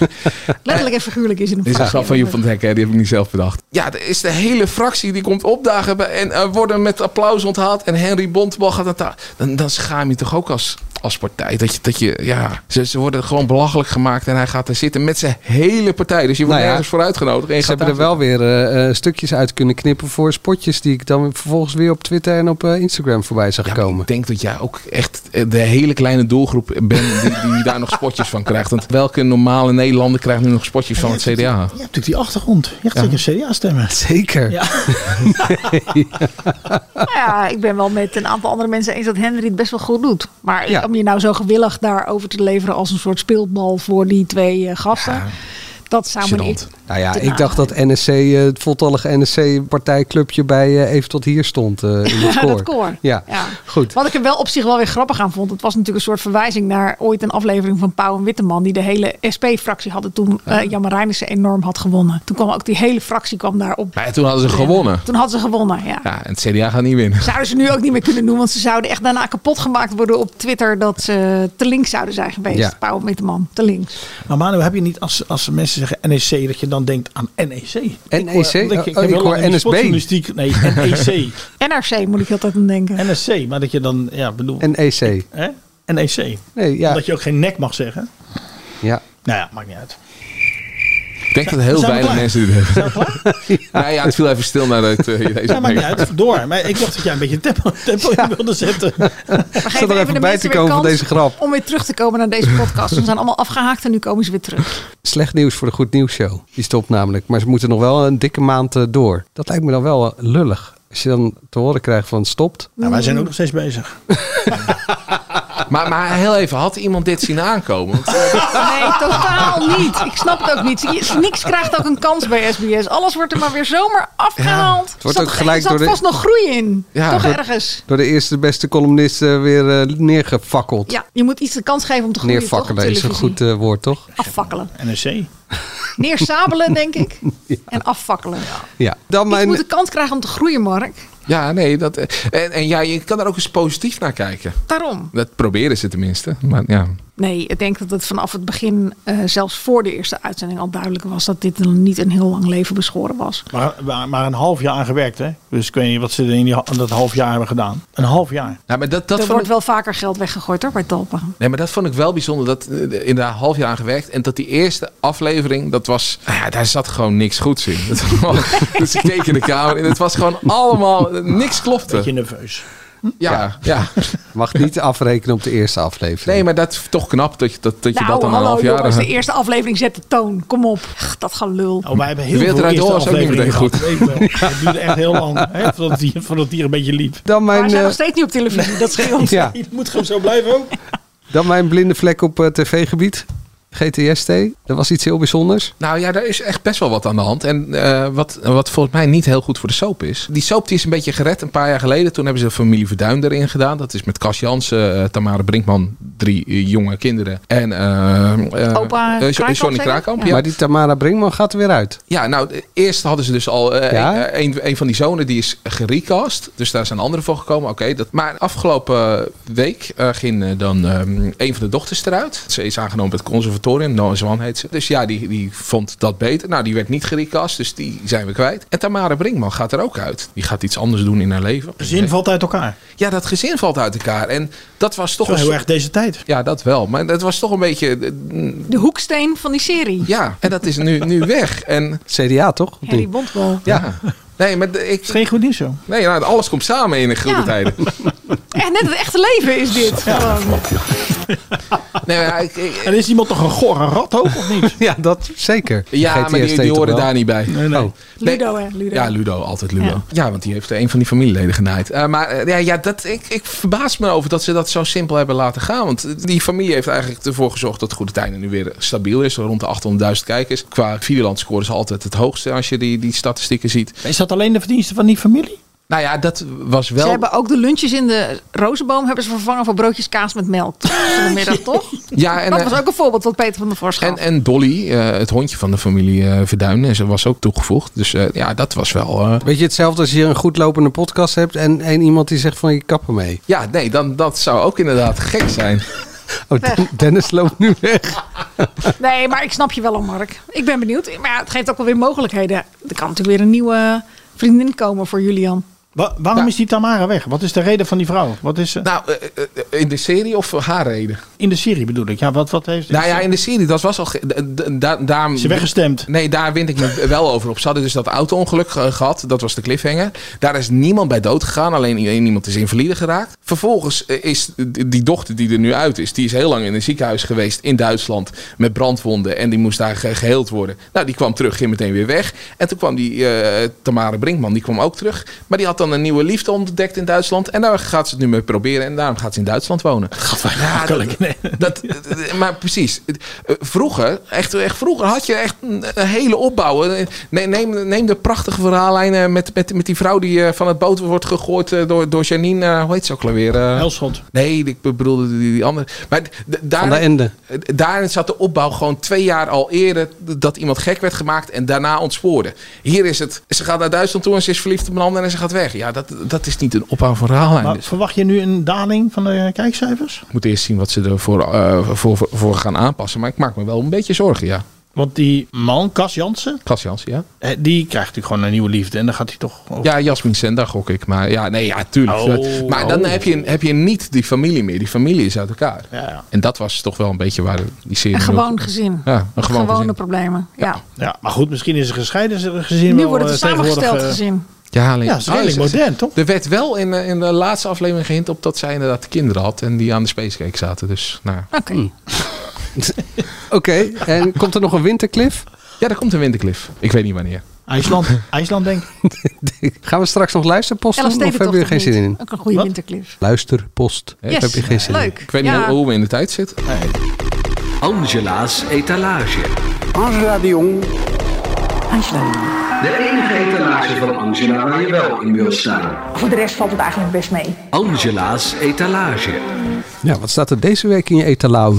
Letterlijk en figuurlijk is het een Dit is fractie. een grap van Joep van het Hek, hè? die heb ik niet zelf bedacht. Ja, er is de hele fractie die komt opdagen bij- en eh, worden met applaus onthaald. En Henry Bontebal gaat aan ta- dan, dan schaam je toch ook als, als partij. Dat je, dat je, ja, ze, ze worden gewoon belachelijk gemaakt en hij gaat daar zitten met zijn hele partij. Dus je Nou wordt ja, nergens voor uitgenodigd. En je Ze gaat hebben er daar wel weer eh, eh, stukjes uit kunnen knippen voor spotjes die ik dan vervolgens weer op Twitter en op eh, Instagram voorbij zag komen. Ik denk dat jij ook echt eh, de hele kleine doelgroep bent die, die daar nog spotjes van krijgt. Want welke normale Nederlander krijgt nu nog spotjes van het CDA? Je hebt natuurlijk die achtergrond. Je hebt zeker CDA stemmen. Zeker. Nou ja, ik ben wel met een aantal andere mensen eens dat Henry het best wel goed doet. Maar Ja. om je nou zo gewillig daarover te leveren als een soort speelbal voor die twee eh, gasten. Dat zou me niet. Nou ja, te ik na- dacht dat NSC, eh, het voltallige NSC-partijclubje bij eh, Even tot hier stond eh, in het Ja, koor. dat koor. Ja. Ja. goed. Wat ik er wel op zich wel weer grappig aan vond. Het was natuurlijk een soort verwijzing naar ooit een aflevering van Pauw en Witteman. Die de hele SP-fractie hadden toen eh Jan Marijnissen enorm had gewonnen. Toen kwam ook die hele fractie kwam daarop. Maar ja, toen hadden ze gewonnen. Toen hadden ze gewonnen, ja. Ja, en het CDA gaat niet winnen. Zouden ze nu ook niet meer kunnen doen, want ze zouden echt daarna kapot gemaakt worden op Twitter dat ze te links zouden zijn geweest. Ja. Pauw en Witteman, te links. Maar Nou, Manu, heb je niet als, als mensen zeggen NEC, dat je dan denkt aan E NEC? NEC? heb Oh, ik heel hoor lang in de NSB. sportjournalistiek- Nee, E NEC. NRC moet ik altijd aan denken. NSC, E maar dat je dan, ja, bedoel... NEC. Hè? NEC. E Nee, ja. Dat je ook geen nek mag zeggen. Ja. Nou ja, maakt niet uit. Ik denk dat heel Zijn we weinig klaar? mensen dit hebben. Nou ja, het viel even stil nadat eh, Ja, je deze maakt niet opmerking- uit. Door. Maar ik dacht dat jij een beetje tempo, tempo in wilde zetten. Maar er geef even de bij mensen te weer komen van kans deze grap. Om weer terug te komen naar deze podcast. Ze zijn allemaal afgehaakt en nu komen ze weer terug. Slecht nieuws voor de Goed Nieuws Show. Die stopt namelijk. Maar ze moeten nog wel een dikke maand eh, door. Dat lijkt me dan wel eh, lullig. Als je dan te horen krijgt van het stopt. Nou, wij zijn ook nog steeds bezig. Maar, maar heel even, had iemand dit zien aankomen? Want, eh, Nee, totaal niet. Ik snap het ook niet. Je- Niks krijgt ook een kans bij SBS. Alles wordt er maar weer zomaar afgehaald. het wordt Er ook zat- gelijk er zat door de- vast nog groei in. Ja, Toch door- ergens. Door de eerste beste columnist eh, weer eh, neergefakkeld. Ja, je moet iets de kans geven om te groeien. Neerfakkelen toch, op is een televisie. goed eh, woord, toch? Afvakkelen. E NEC. Neersabelen, denk ik. En afvakkelen. Ja. Dan Je mijn... moet de kans krijgen om te groeien, Mark. ja, nee. Dat, eh, en en ja, je kan daar ook eens positief naar kijken. Daarom. Dat proberen ze tenminste. Maar ja, Nee, ik denk dat het vanaf het begin, eh, zelfs voor de eerste uitzending, al duidelijk was dat dit een- niet een heel lang leven beschoren was. Maar, maar, maar een half jaar aan gewerkt, hè? Dus ik weet niet wat ze in die, in dat half jaar hebben gedaan. Een half jaar. nou, maar dat, dat er vond wordt ik, wel vaker geld weggegooid hoor, bij Talpa. nee, maar dat vond ik wel bijzonder. Dat eh, in daar half jaar aan gewerkt. En dat die eerste aflevering, dat was. nou ja, daar zat gewoon niks goeds in. Dat was- dus ik keek in de kamer en het was gewoon allemaal. Niks Beetje klopte. nerveus. Ja, ja. Mag niet afrekenen op de eerste aflevering. Nee, maar dat is toch knap dat je dat, dat, je dat dan een Nou, hallo half jaar. jongens, de eerste aflevering zet de toon. Kom op, Ach, dat gelul. Oh, wij hebben heel De wereld veel draait eerste door is ook niet afleveringen gehad. Weet meteen ik wel. Het duurde echt heel lang, hè? Voordat die, voordat die er een beetje liep. Dan Maar mijn, we zijn eh, nog steeds niet op televisie, dat scheelt. ja, Het moet gewoon zo blijven ook. dan mijn blinde vlek op eh, tv-gebied. GTST. Dat was iets heel bijzonders. Nou ja, daar is echt best wel wat aan de hand. En eh, wat, wat volgens mij niet heel goed voor de soap is. Die soap die is een beetje gered een paar jaar geleden. Toen hebben ze familie Verduin erin gedaan. Dat is met Cas Jansen, eh, Tamara Brinkman, drie eh, jonge kinderen. En eh, eh, Opa eh, Kraaikamp, Johnny zeker? Kraaikamp. Ja. Ja. Maar die Tamara Brinkman gaat er weer uit. Ja, nou, eh, eerst hadden ze dus al eh, Ja? een, eh, een, een van die zonen die is gerecast. Dus daar zijn anderen voor gekomen. Oké, dat. maar afgelopen week eh, ging eh, dan ehm, een van de dochters eruit. Ze is aangenomen bij het conservatorium. Noah Zwan heet ze. Dus ja, die, die vond dat beter. Nou, die werd niet gerecast, dus die zijn we kwijt. En Tamara Brinkman gaat er ook uit. Die gaat iets anders doen in haar leven. Gezin valt uit elkaar. Ja, dat gezin valt uit elkaar. En dat was toch Zo heel soort- erg deze tijd. Ja, dat wel. Maar dat was toch een beetje... eh, De hoeksteen van die serie. Ja, en dat is nu, nu weg. En, CDA toch? Harry Bontbal. Ja. Nee, maar de- ik... Geen goed nieuws zo. Nee, nou, alles komt samen in de goede Ja. tijden. Echt net het echte leven is dit. Gewoon. Nee, maar ik, ik- En is iemand toch een gore rat ook of niet? Ja, dat zeker. ja, maar die, die horen daar niet bij. nee. Oh. Ludo, hè? Ludo. Ja, Ludo, altijd Ludo. Ja, Ja. want die heeft een van die familieleden genaaid. Eh, maar eh, ja, ja, dat, ik, ik verbaas me over dat ze dat zo simpel hebben laten gaan. Want eh, die familie heeft eigenlijk ervoor gezorgd dat Goede Tijden nu weer stabiel is. Rond de 800.000 kijkers. Qua Videoland scoren ze altijd het hoogste als je die, die statistieken ziet. Is dat alleen de verdienste van die familie? Nou ja, dat was wel... Ze hebben ook de lunches in de rozenboom hebben ze vervangen voor broodjes kaas met melk. Vanmiddag toch? Ja, en, dat eh, was ook een voorbeeld wat Peter van der Vorst En, gaf. en Dolly, eh, het hondje van de familie eh, Verduin, eh, ze was ook toegevoegd. Dus eh, ja, dat was wel. eh, Weet je hetzelfde als je een goed lopende podcast hebt en, en iemand die zegt van je kappen mee. ja, nee, dan, dat zou ook inderdaad gek zijn. Oh, Den- Dennis loopt nu weg. Nee, maar ik snap je wel al, Mark. Ik ben benieuwd. Maar ja, het geeft ook wel weer mogelijkheden. Er kan natuurlijk weer een nieuwe vriendin komen voor Julian. Wa- waarom is die Tamara weg? Wat is de reden van die vrouw? Wat is ze? Nou, eh, eh, eh, in de serie of haar reden? In de serie bedoel ik. Ja, wat, wat heeft Nou ja, in de serie, dat was al. ge- d- d- da- daar, Is ze weggestemd? Nee, daar wint ik me wel over op. Ze hadden dus dat auto-ongeluk eh, gehad. Dat was de cliffhanger. Daar is niemand bij dood gegaan. Alleen i- iemand is invalide geraakt. Vervolgens eh, is d- die dochter die er nu uit is. Die is heel lang in een ziekenhuis geweest in Duitsland. Met brandwonden. En die moest daar ge- geheeld worden. Nou, die kwam terug. Ging meteen weer weg. En toen kwam die eh Tamara Brinkman. Die kwam ook terug. Maar die had dan een nieuwe liefde ontdekt in Duitsland. En daar gaat ze het nu mee proberen. En daarom gaat ze in Duitsland wonen. Ja, dat- dat, maar precies. Eh, Vroeger, echt, echt vroeger had je echt een, een hele opbouw. Eh, ne- Neem, neem de prachtige verhaallijnen met, met, met die vrouw die eh, van het boot wordt gegooid eh, door, door Janine. eh, Hoe heet ze ook alweer? eh? Helschot. Nee, ik bedoelde die, die andere. Maar d- d- daar, Van der Ende. eh, Daarin zat de opbouw gewoon twee jaar al eerder d- dat iemand gek werd gemaakt en daarna ontspoorde. Hier is het, ze gaat naar Duitsland toe en ze is verliefd op een ander en ze gaat weg. Ja, dat, dat is niet een opbouw van verhaallijn. Maar Dus- verwacht je nu een daling van de kijkcijfers? moet eerst zien wat ze ervoor eh, voor, voor, voor gaan aanpassen. Maar ik maak me wel een beetje zorgen, ja. Want die man, Cas Jansen, Klas Jansen, ja. eh, die krijgt natuurlijk gewoon een nieuwe liefde. En dan gaat hij toch... over- Ja, Jasmin Senda gok ik. Maar ja, nee, ja, tuurlijk. Oh. maar dan heb je, heb je niet die familie meer. Die familie is uit elkaar. Ja, ja. En dat was toch wel een beetje waar die serie... Een gewoon ook- gezin. Ja, een gewoon Gewone gezin. problemen. Ja. Ja, maar goed, misschien is een gescheiden gezin Nu wel, wordt het een eh, tegenwoordig, samengesteld eh, gezin. Ja, alleen, Ja, dat is Oh, redelijk ze- ze- modern, toch? Er werd wel in, eh, in de laatste aflevering gehint op dat zij inderdaad kinderen had. En die aan de spacecake zaten. Dus, nou. ja. Oké. Hmm. Oké, en komt er nog een wintercliff? ja, daar komt een wintercliff. Ik weet niet wanneer. IJsland, IJsland denk ik. Gaan we straks nog luisteren, posten? Of Elfstedentocht hebben we er geen of zin niet? in? Ook een goede Wat? winterclip. Luister, post. Hè? Yes. Heb je geen zin in? Leuk. Ik weet ja. niet hoe we in de tijd zitten. Angela's etalage. Angela de Jong. De enige etalage van Angela waar je wel in wilt staan. Voor de rest valt het eigenlijk best mee. Angela's etalage. Ja, wat staat er deze week in je etalage?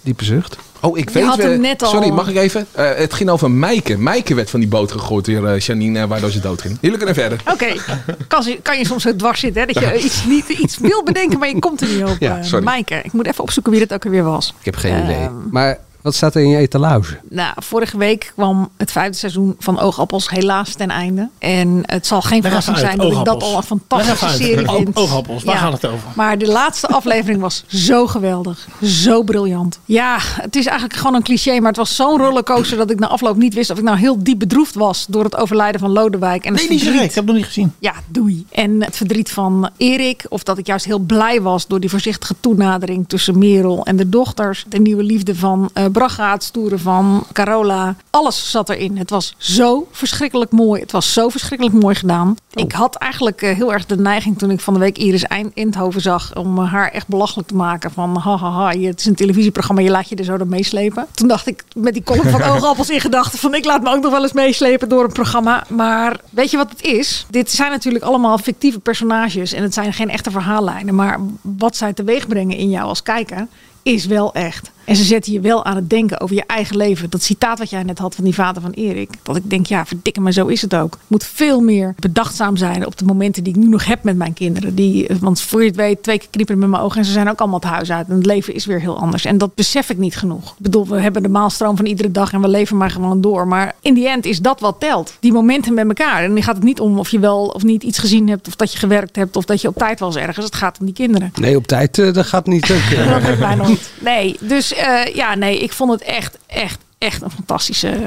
Diepe zucht. Oh, ik Je weet had wel- hem net al. Sorry, mag ik even? Eh, het ging over Mijke. Mijke werd van die boot gegooid door eh, Janine, eh, waardoor ze dood ging. Jullie kunnen verder. Oké, kan, ze- kan je soms zo dwars zitten hè? dat je iets, niet, iets wil bedenken, maar je komt er niet op. Ja, eh, sorry. Maaike, ik moet even opzoeken wie dat ook alweer was. Ik heb geen idee. Ehm. Maar wat staat er in je etalage? Nou, vorige week kwam het vijfde seizoen van Oogappels helaas ten einde. En het zal geen Leg even verrassing uit, zijn dat ik dat Oogappels. al een fantastische Leg even uit. serie O- vind. Oogappels, waar gaat het over? Maar de laatste aflevering was zo geweldig. Zo briljant. Ja, het is eigenlijk gewoon een cliché, maar het was zo'n rollercoaster dat ik na afloop niet wist of ik nou heel diep bedroefd was door het overlijden van Lodewijk. En het Nee, niet verdriet. direct. Ik heb het nog niet gezien. Ja, doei. En het verdriet van Erik. Of dat ik juist heel blij was door die voorzichtige toenadering tussen Merel en de dochters. De nieuwe liefde van eh Braga, het stoeren van Carola. Alles zat erin. Het was zo verschrikkelijk mooi. Het was zo verschrikkelijk mooi gedaan. Ik had eigenlijk eh, heel erg de neiging toen ik van de week Iris Eind- Endhoven zag. Om eh, haar echt belachelijk te maken. Van ha ha ha, je- het is een televisieprogramma. Je laat je er zo door meeslepen. Toen dacht ik met die column van oogappels in gedachten. Van ik laat me ook nog wel eens meeslepen door een programma. Maar weet je wat het is? Dit zijn natuurlijk allemaal fictieve personages. En het zijn geen echte verhaallijnen. Maar wat zij teweeg brengen in jou als kijker is wel echt. En ze zetten je wel aan het denken over je eigen leven. Dat citaat wat jij net had van die vader van Erik. Dat ik denk, ja, verdikke maar zo is het ook. Ik moet veel meer bedachtzaam zijn op de momenten die ik nu nog heb met mijn kinderen. Die, eh, want voor je het weet, twee keer knipperen met mijn ogen en ze zijn ook allemaal het huis uit. En het leven is weer heel anders. En dat besef ik niet genoeg. Ik bedoel, we hebben de maalstroom van iedere dag en we leven maar gewoon door. Maar in die end is dat wat telt. Die momenten met elkaar. En dan gaat het niet om of je wel of niet iets gezien hebt. Of dat je gewerkt hebt. Of dat je op tijd was ergens. Het gaat om die kinderen. Nee, op tijd, eh, dat gaat niet. Ook, eh. Dat lukt mij nooit. Nee, dus eh, ja, nee, ik vond het echt, echt, echt een fantastische eh,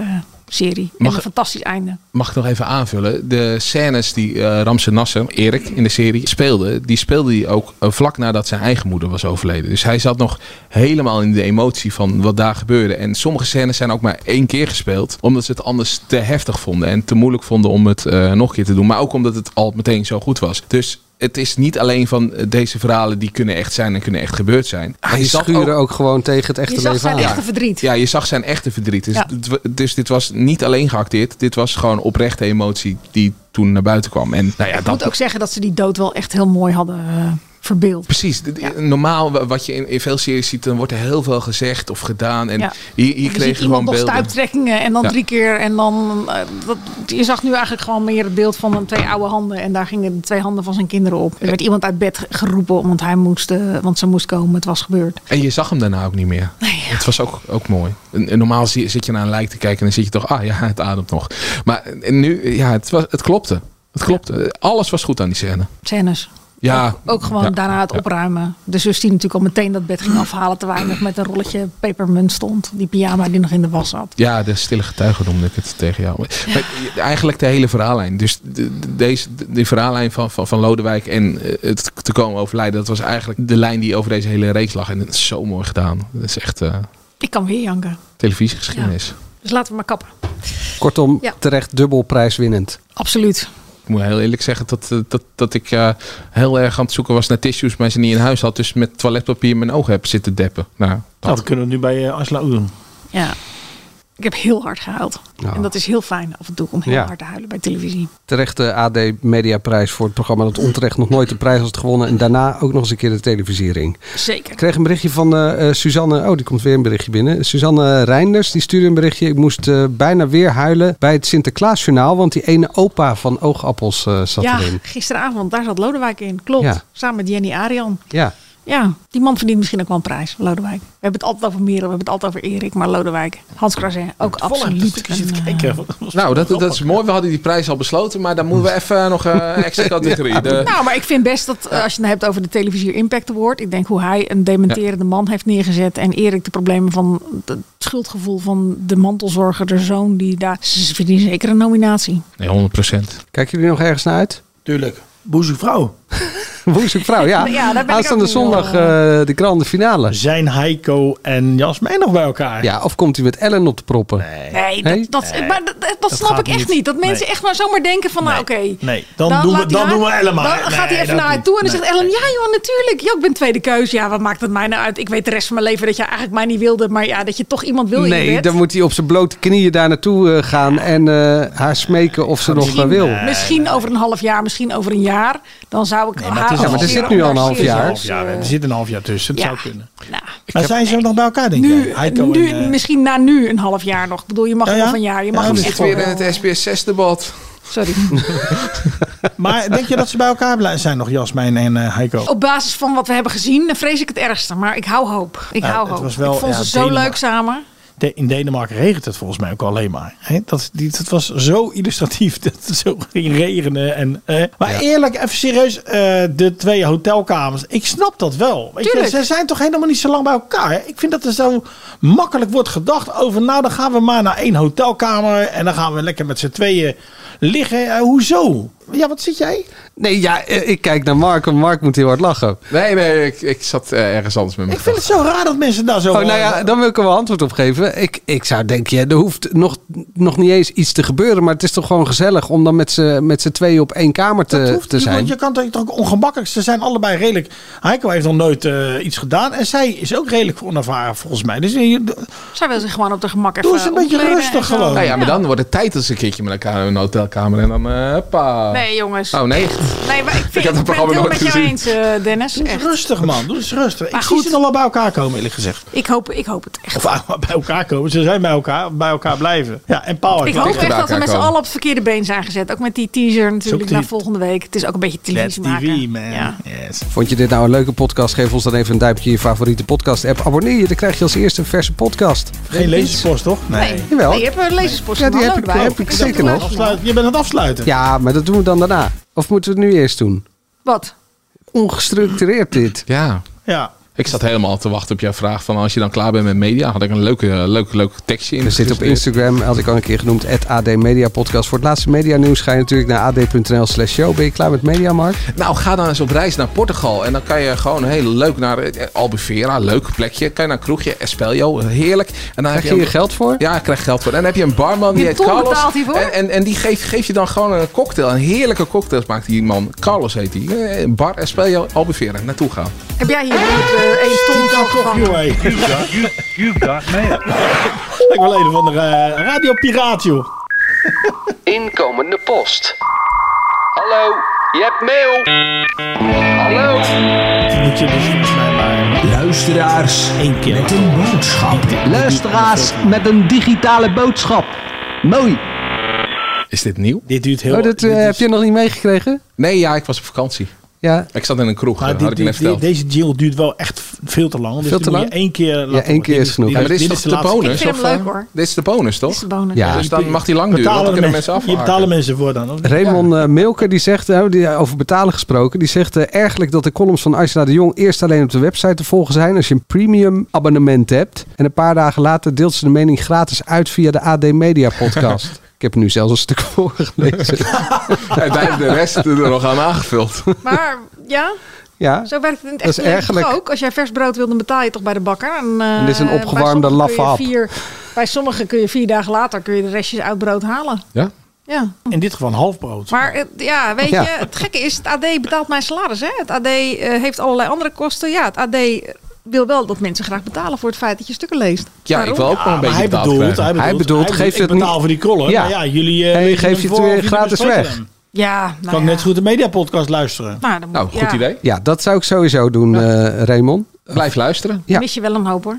serie. Mag- en een fantastisch einde. Mag ik nog even aanvullen? De scènes die eh Ramse Nasser, Erik in de serie, speelde, die speelde hij ook eh, vlak nadat zijn eigen moeder was overleden. Dus hij zat nog helemaal in de emotie van wat daar gebeurde. En sommige scènes zijn ook maar één keer gespeeld, omdat ze het anders te heftig vonden en te moeilijk vonden om het eh, nog een keer te doen. Maar ook omdat het al meteen zo goed was. Dus het is niet alleen van eh, deze verhalen die kunnen echt zijn en kunnen echt gebeurd zijn. Maar Hij je zag schuren Ah, ook... gewoon tegen het echte Je zag leven zijn aan. echte verdriet. ja, je zag zijn echte verdriet. Dus, Ja. dit wa- dus dit was niet alleen geacteerd. Dit was gewoon oprechte emotie die toen naar buiten kwam. En nou ja, Ik moet dat... ook zeggen dat ze die dood wel echt heel mooi hadden eh, verbeeld. Precies. D- d- Normaal, wa- wat je in, in veel series ziet, dan wordt er heel veel gezegd of gedaan. En Ja. hier, hier Je kreeg ziet je gewoon iemand nog beelden. stuiptrekkingen en dan Ja. drie keer. En dan, eh, dat, je zag nu eigenlijk gewoon meer het beeld van een twee oude handen. En daar gingen de twee handen van zijn kinderen op. Er werd iemand uit bed geroepen, want, hij moest, eh, want ze moest komen. Het was gebeurd. En je zag hem daarna ook niet meer. Het was ook, ook mooi. En- en Normaal zie- zit je naar een lijk te kijken en dan zit je toch, ah ja, het ademt nog. Maar eh, nu, ja, het, was, het klopte. Het klopte. Alles was goed aan die scène. Scènes. Ja, Ook gewoon Ah. Ja. Ah. daarna het opruimen. De zus die natuurlijk al meteen dat bed ging afhalen terwijl nog met een rolletje pepermunt stond. Die pyjama die nog in de was zat. Ja, de stille getuige noemde ik het tegen jou. Maar, maar eigenlijk de hele verhaallijn. Dus de, de- deze, de, die verhaallijn van, van, van Lodewijk en eh, het te komen overlijden... dat was eigenlijk de lijn die over deze hele reeks lag. En het is zo mooi gedaan. Dat is echt eh, Ik kan weer janken. televisiegeschiedenis. Dus laten we maar kappen. Kortom, Ja. terecht dubbel prijswinnend. Absoluut. Ik moet heel eerlijk zeggen dat, eh, dat, dat ik eh, heel erg aan het zoeken was naar tissues... maar ze niet in huis had. Dus met toiletpapier mijn ogen heb zitten deppen. Nou, Nou, dat kunnen we nu bij eh, Angela Oe doen. Ja. Ik heb heel hard gehuild. Ja. En dat is heel fijn af en toe om heel Ja. hard te huilen bij televisie. Terecht de AD Mediaprijs voor het programma dat onterecht nog nooit de prijs had gewonnen. En daarna ook nog eens een keer de televisiering. Zeker. Ik kreeg een berichtje van eh, eh, Suzanne. Oh, die komt weer een berichtje binnen. Suzanne Reinders, die stuurde een berichtje. Ik moest eh, bijna weer huilen bij het Sinterklaasjournaal. Want die ene opa van Oogappels eh, zat ja, erin. gisteravond, daar zat Lodewijk in. Klopt. Ja. Samen met Jenny Arian. Ja. Ja, die man verdient misschien ook wel een prijs, Lodewijk. We hebben het altijd over Merel, we hebben het altijd over Erik, maar Lodewijk, Hans Krasin, ook absoluut. een, eh, nou dat, dat is mooi. We hadden die prijs al besloten. Maar dan moeten we even nog eh, een extra categorie. De- Nou, maar ik vind best dat eh, als je het hebt over de Televisier Impact Award, ik denk hoe hij een dementerende man heeft neergezet en Erik de problemen van de- het schuldgevoel van de mantelzorger, de zoon, die daar ze verdienen zeker een nominatie. Nee, 100%. Kijken jullie nog ergens naar uit? Tuurlijk. Boezemvrouw. Woensdagvrouw, ja. Ja, daar ben ik ook Aanstaande niet zondag heel, eh, de grande finale. Zijn Heiko en Jasmijn nog bij elkaar? Ja, of komt hij met Ellen op de proppen? Nee, Nee? dat, dat, maar dat, dat snap gaat ik echt niet. niet. Dat mensen Nee. echt maar zomaar denken van, nou oké. Nee, dan, doen, we, laat dan hij doen we haar- Ellen maar. Dan Nee, gaat hij even dat naar haar niet. toe en dan Nee. zegt Ellen, ja joh, natuurlijk. Ja, ik ben tweede keuze. Ja, wat maakt het mij nou uit? Ik weet de rest van mijn leven dat je eigenlijk mij niet wilde. Maar ja, dat je toch iemand wil in je Nee, bed. dan moet hij op zijn blote knieën daar naartoe eh, gaan en eh, haar smeken of ze nog wel wil. Misschien over een half jaar, misschien over een jaar. Dan zou ik haar het is ook al- maar er weer zit nu al een half serieus, jaar. eh, Half jaar, er zit een half jaar tussen. Het Ja. zou kunnen. Nou, Maar zijn ze nog bij elkaar, denk Nu- jij? Heiko nu, en, eh, misschien na nu een half jaar nog. Ik bedoel, je mag Ja, ja. nog een jaar. Je mag Ja, op dat zich is wel weer eh, wel- Het SBS6-debat. Sorry. eh, Maar denk je dat ze bij elkaar blij- zijn nog, Jasmijn en eh, Heiko? Op basis van wat we hebben gezien, dan vrees ik het ergste. Maar ik hou hoop. Ik Ja, hou Nou, het hoop. was wel- ik vond ja, ze zo Denemarken. leuk samen. De- in Denemarken regent het volgens mij ook alleen maar. Hè? Dat, die, dat was zo illustratief. Dat het zo ging regenen. En, eh, Maar eerlijk, even serieus. eh, de twee hotelkamers. Ik snap dat wel. Weet je, Tuurlijk. ze zijn toch helemaal niet zo lang bij elkaar. hè? Ik vind dat er zo makkelijk wordt gedacht over... nou, dan gaan we maar naar één hotelkamer... en dan gaan we lekker met z'n tweeën liggen. Eh, hoezo? Ja, wat zit jij? Nee, ja, eh, ik kijk naar Mark, want Mark moet heel hard lachen. Nee, nee, ik, ik zat eh, ergens anders met mijn Ik vind het zo raar dat mensen daar zo... Oh, nou ja, dan wil ik er wel antwoord op geven. Ik, ik zou denken, ja, er hoeft nog, nog niet eens iets te gebeuren, maar het is toch gewoon gezellig om dan met z'n met z'n tweeën op één kamer te, hoeft te niet, zijn. Want je kan toch toch ook ongemakkelijk. Ze zijn allebei redelijk. Heiko heeft nog nooit eh, iets gedaan. En zij is ook redelijk onervaren volgens mij. Dus je- Zij wil zich gewoon op de gemak even doe eens een beetje omkleden en rustig zo. gewoon. Nou ja, maar dan wordt het tijd dat ze een keertje met elkaar een hotel hotelkamer en dan... eh hoppa. Nee, jongens. Oh, nee. Nee, maar ik, vind, heb het ik ben het programma heel nooit met jou gezien. eens, eh, Dennis. Echt. Rustig man, doe eens rustig. Maar ik zie goed. ze nog wel bij elkaar komen eerlijk gezegd. Ik hoop, ik hoop het echt. Of ah, bij elkaar komen, ze zijn bij elkaar, bij elkaar blijven. Ja, en Paul heeft ik hoop gelijk. echt dat we met z'n allen op het verkeerde been zijn gezet. Ook met die teaser natuurlijk die- naar volgende week. Het is ook een beetje Let's televisie maken. TV, man. Ja. Yes. Vond je dit nou een leuke podcast? Geef ons dan even een duimpje in je favoriete podcast-app. Abonneer je, dan krijg je als eerste een verse podcast. Geen lezerspost, toch? Nee. Jawel. Nee, je hebt eh, een lezerspost Ja, die van heb ik, Hallo erbij. heb ik zeker Je bent nog. aan het afsluiten- Je bent aan het afsluiten. Ja, maar dat doen we dan daarna. Of moeten we het nu eerst doen? Wat? Ongestructureerd dit. Ja. Ja. Ik zat helemaal te wachten op jouw vraag van als je dan klaar bent met media. Had ik een leuke, leuke, leuke tekstje in. Er zit op Instagram, had ik al een keer genoemd, het AD Media Podcast. Voor het laatste medianieuws ga je natuurlijk naar ad.nl slash show. Ben je klaar met media, Mark? Nou, ga dan eens op reis naar Portugal. En dan kan je gewoon heel leuk naar eh, Albufeira, leuk plekje. Kan je naar een kroegje, Espelho, heerlijk. En dan heb Krijg je hier geld voor? Ja, ik krijg geld voor. En dan heb je een barman, die Je heet ton Carlos. betaalt hij voor? En, en, en die geeft, geeft je dan gewoon een cocktail. Een heerlijke cocktails maakt die man. Carlos heet die. Eh, Bar Espelho, Albufeira. Naartoe gaan. Heb jij hier nooit eh één ton van gevangen? You've got mail. Ik wil een van de Radio Piraat, joh. Inkomende post. Hallo, je hebt mail. Hallo. Moet je dus volgens mij maar... Luisteraars keer. met een boodschap. Luisteraars met een digitale boodschap. Mooi. Is dit nieuw? Dit duurt heel... oh, dat eh, heb je nog niet meegekregen? Nee, ja, ik was op vakantie. Ja. Ik zat in een kroeg, Maar eh, dit- had ik net dit- dit- verteld. deze deal duurt wel echt veel te lang. Dus Veel te die moet je lang? één keer laten Ja, één horen. keer Dit is genoeg. dit Ja, maar dit is dit toch de laatste- bonus? Ik vind of, hem leuk, eh, hoor. Dit is de bonus, toch? Dit is de bonus. Ja. Dus dan mag die lang duren, Betalen want dan kunnen de mensen Je afhaken. betalen mensen voor dan. hoor. Raymond eh, Milker die zegt, eh, die, over betalen gesproken, die zegt eh ergelijk dat de columns van Angela de Jong eerst alleen op de website te volgen zijn als je een premium abonnement hebt. En een paar dagen later deelt ze de mening gratis uit via de AD Media Podcast. ik heb er nu zelfs een stuk voor gelezen. En wij hebben de rest er nog aan aangevuld. Maar ja, ja. zo werkt het in het Dat is echte leven ergerlijk. toch ook. Als jij vers brood wil, dan betaal je toch bij de bakker. En, eh, En dit is een bij opgewarmde sommigen kun je laffe hap. vier- Bij sommigen kun je vier dagen later kun je de restjes uit brood halen. Ja? Ja. In dit geval een half brood. Maar het- ja, weet Ja. je, het gekke is, het AD betaalt mijn salaris. Hè? Het AD eh, heeft allerlei andere kosten. Ja, het AD wil wel dat mensen graag betalen voor het feit dat je stukken leest. Ja, ik wil ook wel een Ah, Maar beetje hij betaald bedoelt, hij krijgen. bedoelt, Hij bedoelt, geef ik het betaal niet- voor die krollen. Ja. Ja. ja, jullie... eh, Hey, lezen geef hem je voor het of weer jullie gratis bespreken weg. hem. Ja, kan nou ik ja. net zo goed de mediapodcast luisteren. Nou, dan moet- Nou, goed ja. idee. Ja, dat zou ik sowieso doen, eh, Raymond. Blijf luisteren. Ja. Mis je wel een hoop hoor.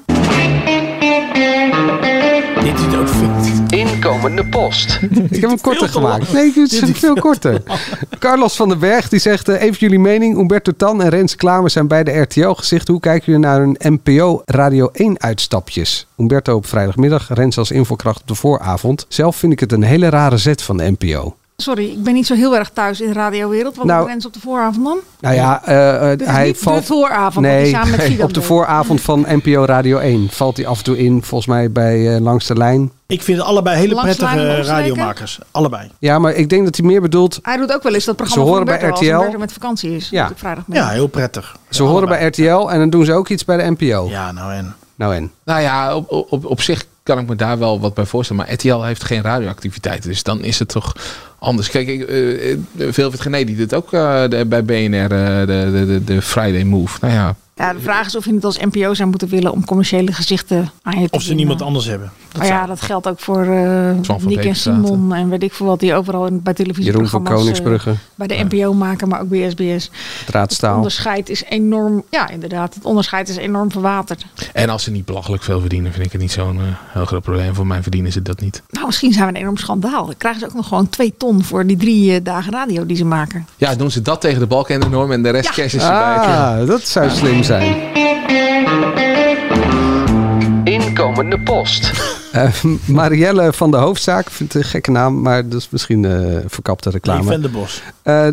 Dit is ook veel. Inkomende post. Ik heb hem korter veel te lang. gemaakt. Nee, het is veel korter. Carlos van den Berg die zegt: eh, Even jullie mening. Humberto Tan en Rens Klamer zijn beide RTL-gezichten. Hoe kijken jullie naar hun NPO Radio 1-uitstapjes? Humberto op vrijdagmiddag, Rens als infokracht op de vooravond. Zelf vind ik het een hele rare zet van de NPO. Sorry, ik ben niet zo heel erg thuis in de radiowereld. Wat Nou- nou, op de vooravond dan? Nou ja, eh, eh, is hij niet de valt. vooravond, want nee, die samen met Fidan op de deed. vooravond van NPO Radio 1 valt hij af en toe in, volgens mij bij eh, Langs de Lijn. Ik vind het allebei hele Langs prettige lijnen omsteken? radiomakers. Allebei. Ja, maar ik denk dat hij meer bedoelt. Hij doet ook wel eens dat programma Ze van horen bij Humberto als RTL. Humberto met vakantie is. Ja. Ja. Op vrijdag Ja, heel prettig. Ze horen bij RTL en dan doen ze ook iets bij de NPO. Ja, nou en... Nou en. Nou ja, op, op, op zich kan ik me daar wel wat bij voorstellen. Maar RTL heeft geen radioactiviteiten. Dus dan is het toch anders. Kijk, ik, eh, eh, Velvet Gené die doet ook eh, de- bij BNR eh, de, de, de, de Friday Move. Nou ja, Ja, de vraag is of je het als NPO zou moeten willen om commerciële gezichten aan je te Of ze binden. niemand anders hebben. Ah Maar ja, dat geldt ook voor eh Twan van Nick en Beekstraten. Simon en weet ik veel wat die overal in, bij eh, Jeroen van televisieprogramma's... eh, Koningsbrugge, bij de NPO maken, maar ook bij SBS. Het draadstaal. onderscheid is enorm... Ja, inderdaad. Het onderscheid is enorm verwaterd. En als ze niet belachelijk veel verdienen, vind ik het niet zo'n eh, heel groot probleem. Voor mij verdienen ze dat niet. Nou, misschien zijn we een enorm schandaal. Dan krijgen ze ook nog gewoon twee ton voor die drie eh, dagen radio die ze maken. Ja, doen ze dat tegen de balken en de norm en de rest cash is erbij. Ah, dat zou slim zijn. Inkomende post. Eh, Marielle van de Hoofdzaak, vindt een gekke naam, maar dat is misschien eh verkapte reclame. Van de Bos. Eh,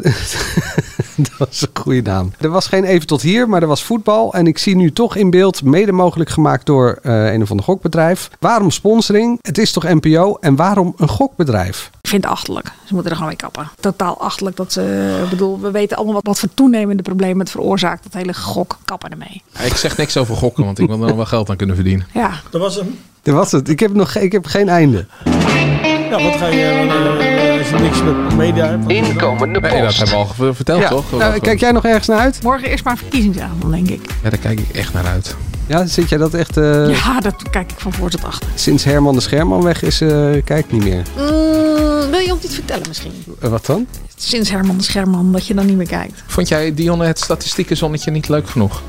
dat is een goede naam. Er was geen even tot hier, maar er was voetbal. En ik zie nu toch in beeld, mede mogelijk gemaakt door eh, een of ander gokbedrijf. Waarom sponsoring? Het is toch NPO? En waarom een gokbedrijf? Ik vind het achterlijk. Ze moeten er gewoon mee kappen. Totaal achterlijk dat ze... Ik bedoel, we weten allemaal wat, wat voor toenemende problemen het veroorzaakt. Dat hele gok kappen ermee. Ik zeg niks over gokken, want ik wil er nog wel geld aan kunnen verdienen. Ja. Dat was hem. Dat was het. Ik heb, nog, ge- ik heb geen einde. Ja, wat ga je... eh, als je niks met media hebt... Inkomende Nee, dat post. hebben we al ge- verteld, Ja. toch? Nou, kijk jij nog ergens naar uit? Morgen eerst maar verkiezingsavond, denk ik. Ja, daar kijk ik echt naar uit. Ja, zit jij dat echt... eh, Ja, dat kijk ik van voor tot achter. Sinds Herman de Scherman weg is, eh kijk niet meer. Mm, wil Dion niet vertellen misschien? Eh, Wat dan? Sinds Herman de Scherman, dat je dan niet meer kijkt. Vond jij Dionne het statistieke zonnetje niet leuk genoeg?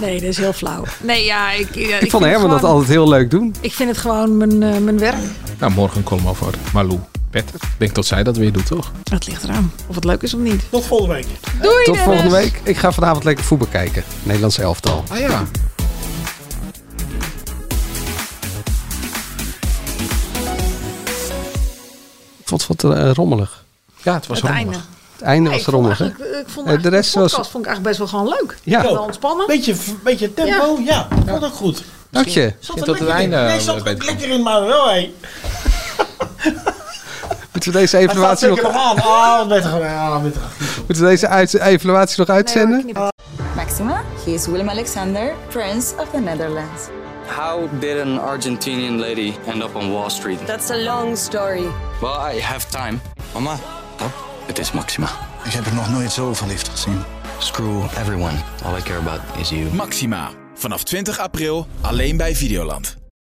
Nee, dat is heel flauw. Nee, ja, ik... ja, Ik vond vind Herman het dat gewoon- altijd heel leuk doen. Ik vind het gewoon mijn, eh, mijn werk. Nou, morgen een column over Malou. Pet. Ik denk dat zij dat weer doet, toch? Het ligt eraan of het leuk is of niet. Tot volgende week. Doei, Tot Dennis. volgende week. Ik ga vanavond lekker voetbal kijken. Nederlands elftal. Ah ja. Ik vond het wat eh, rommelig. Ja, het was Het rommelig. einde. Het einde was Nee, ik vond rommelig, hè? eigenlijk- Ik vond Eh, de eigenlijk rest de was... podcast vond ik eigenlijk best wel gewoon leuk. Ja. Wel ontspannen. Oh, Beetje, beetje tempo, ja. Vond ik goed. Dank je. Zat Tot er het lekker in. einde, Nee, zat eh, er beter. lekker in, maar wel, hé. Moeten we deze Hij staat evaluatie zeker nog nog, aan. Ah, met een ah, met een- moeten we deze uit- evaluatie nog uitzenden? Maxima, he is Willem Alexander, Prince of the Netherlands. How did an Argentinian lady end up on Wall Street? That's a long story. Well, I have time. Mama, oh, it is Maxima. Ik heb er nog nooit zo verliefd gezien. Screw everyone. All I care about is you. Maxima. Vanaf 20 april alleen bij Videoland.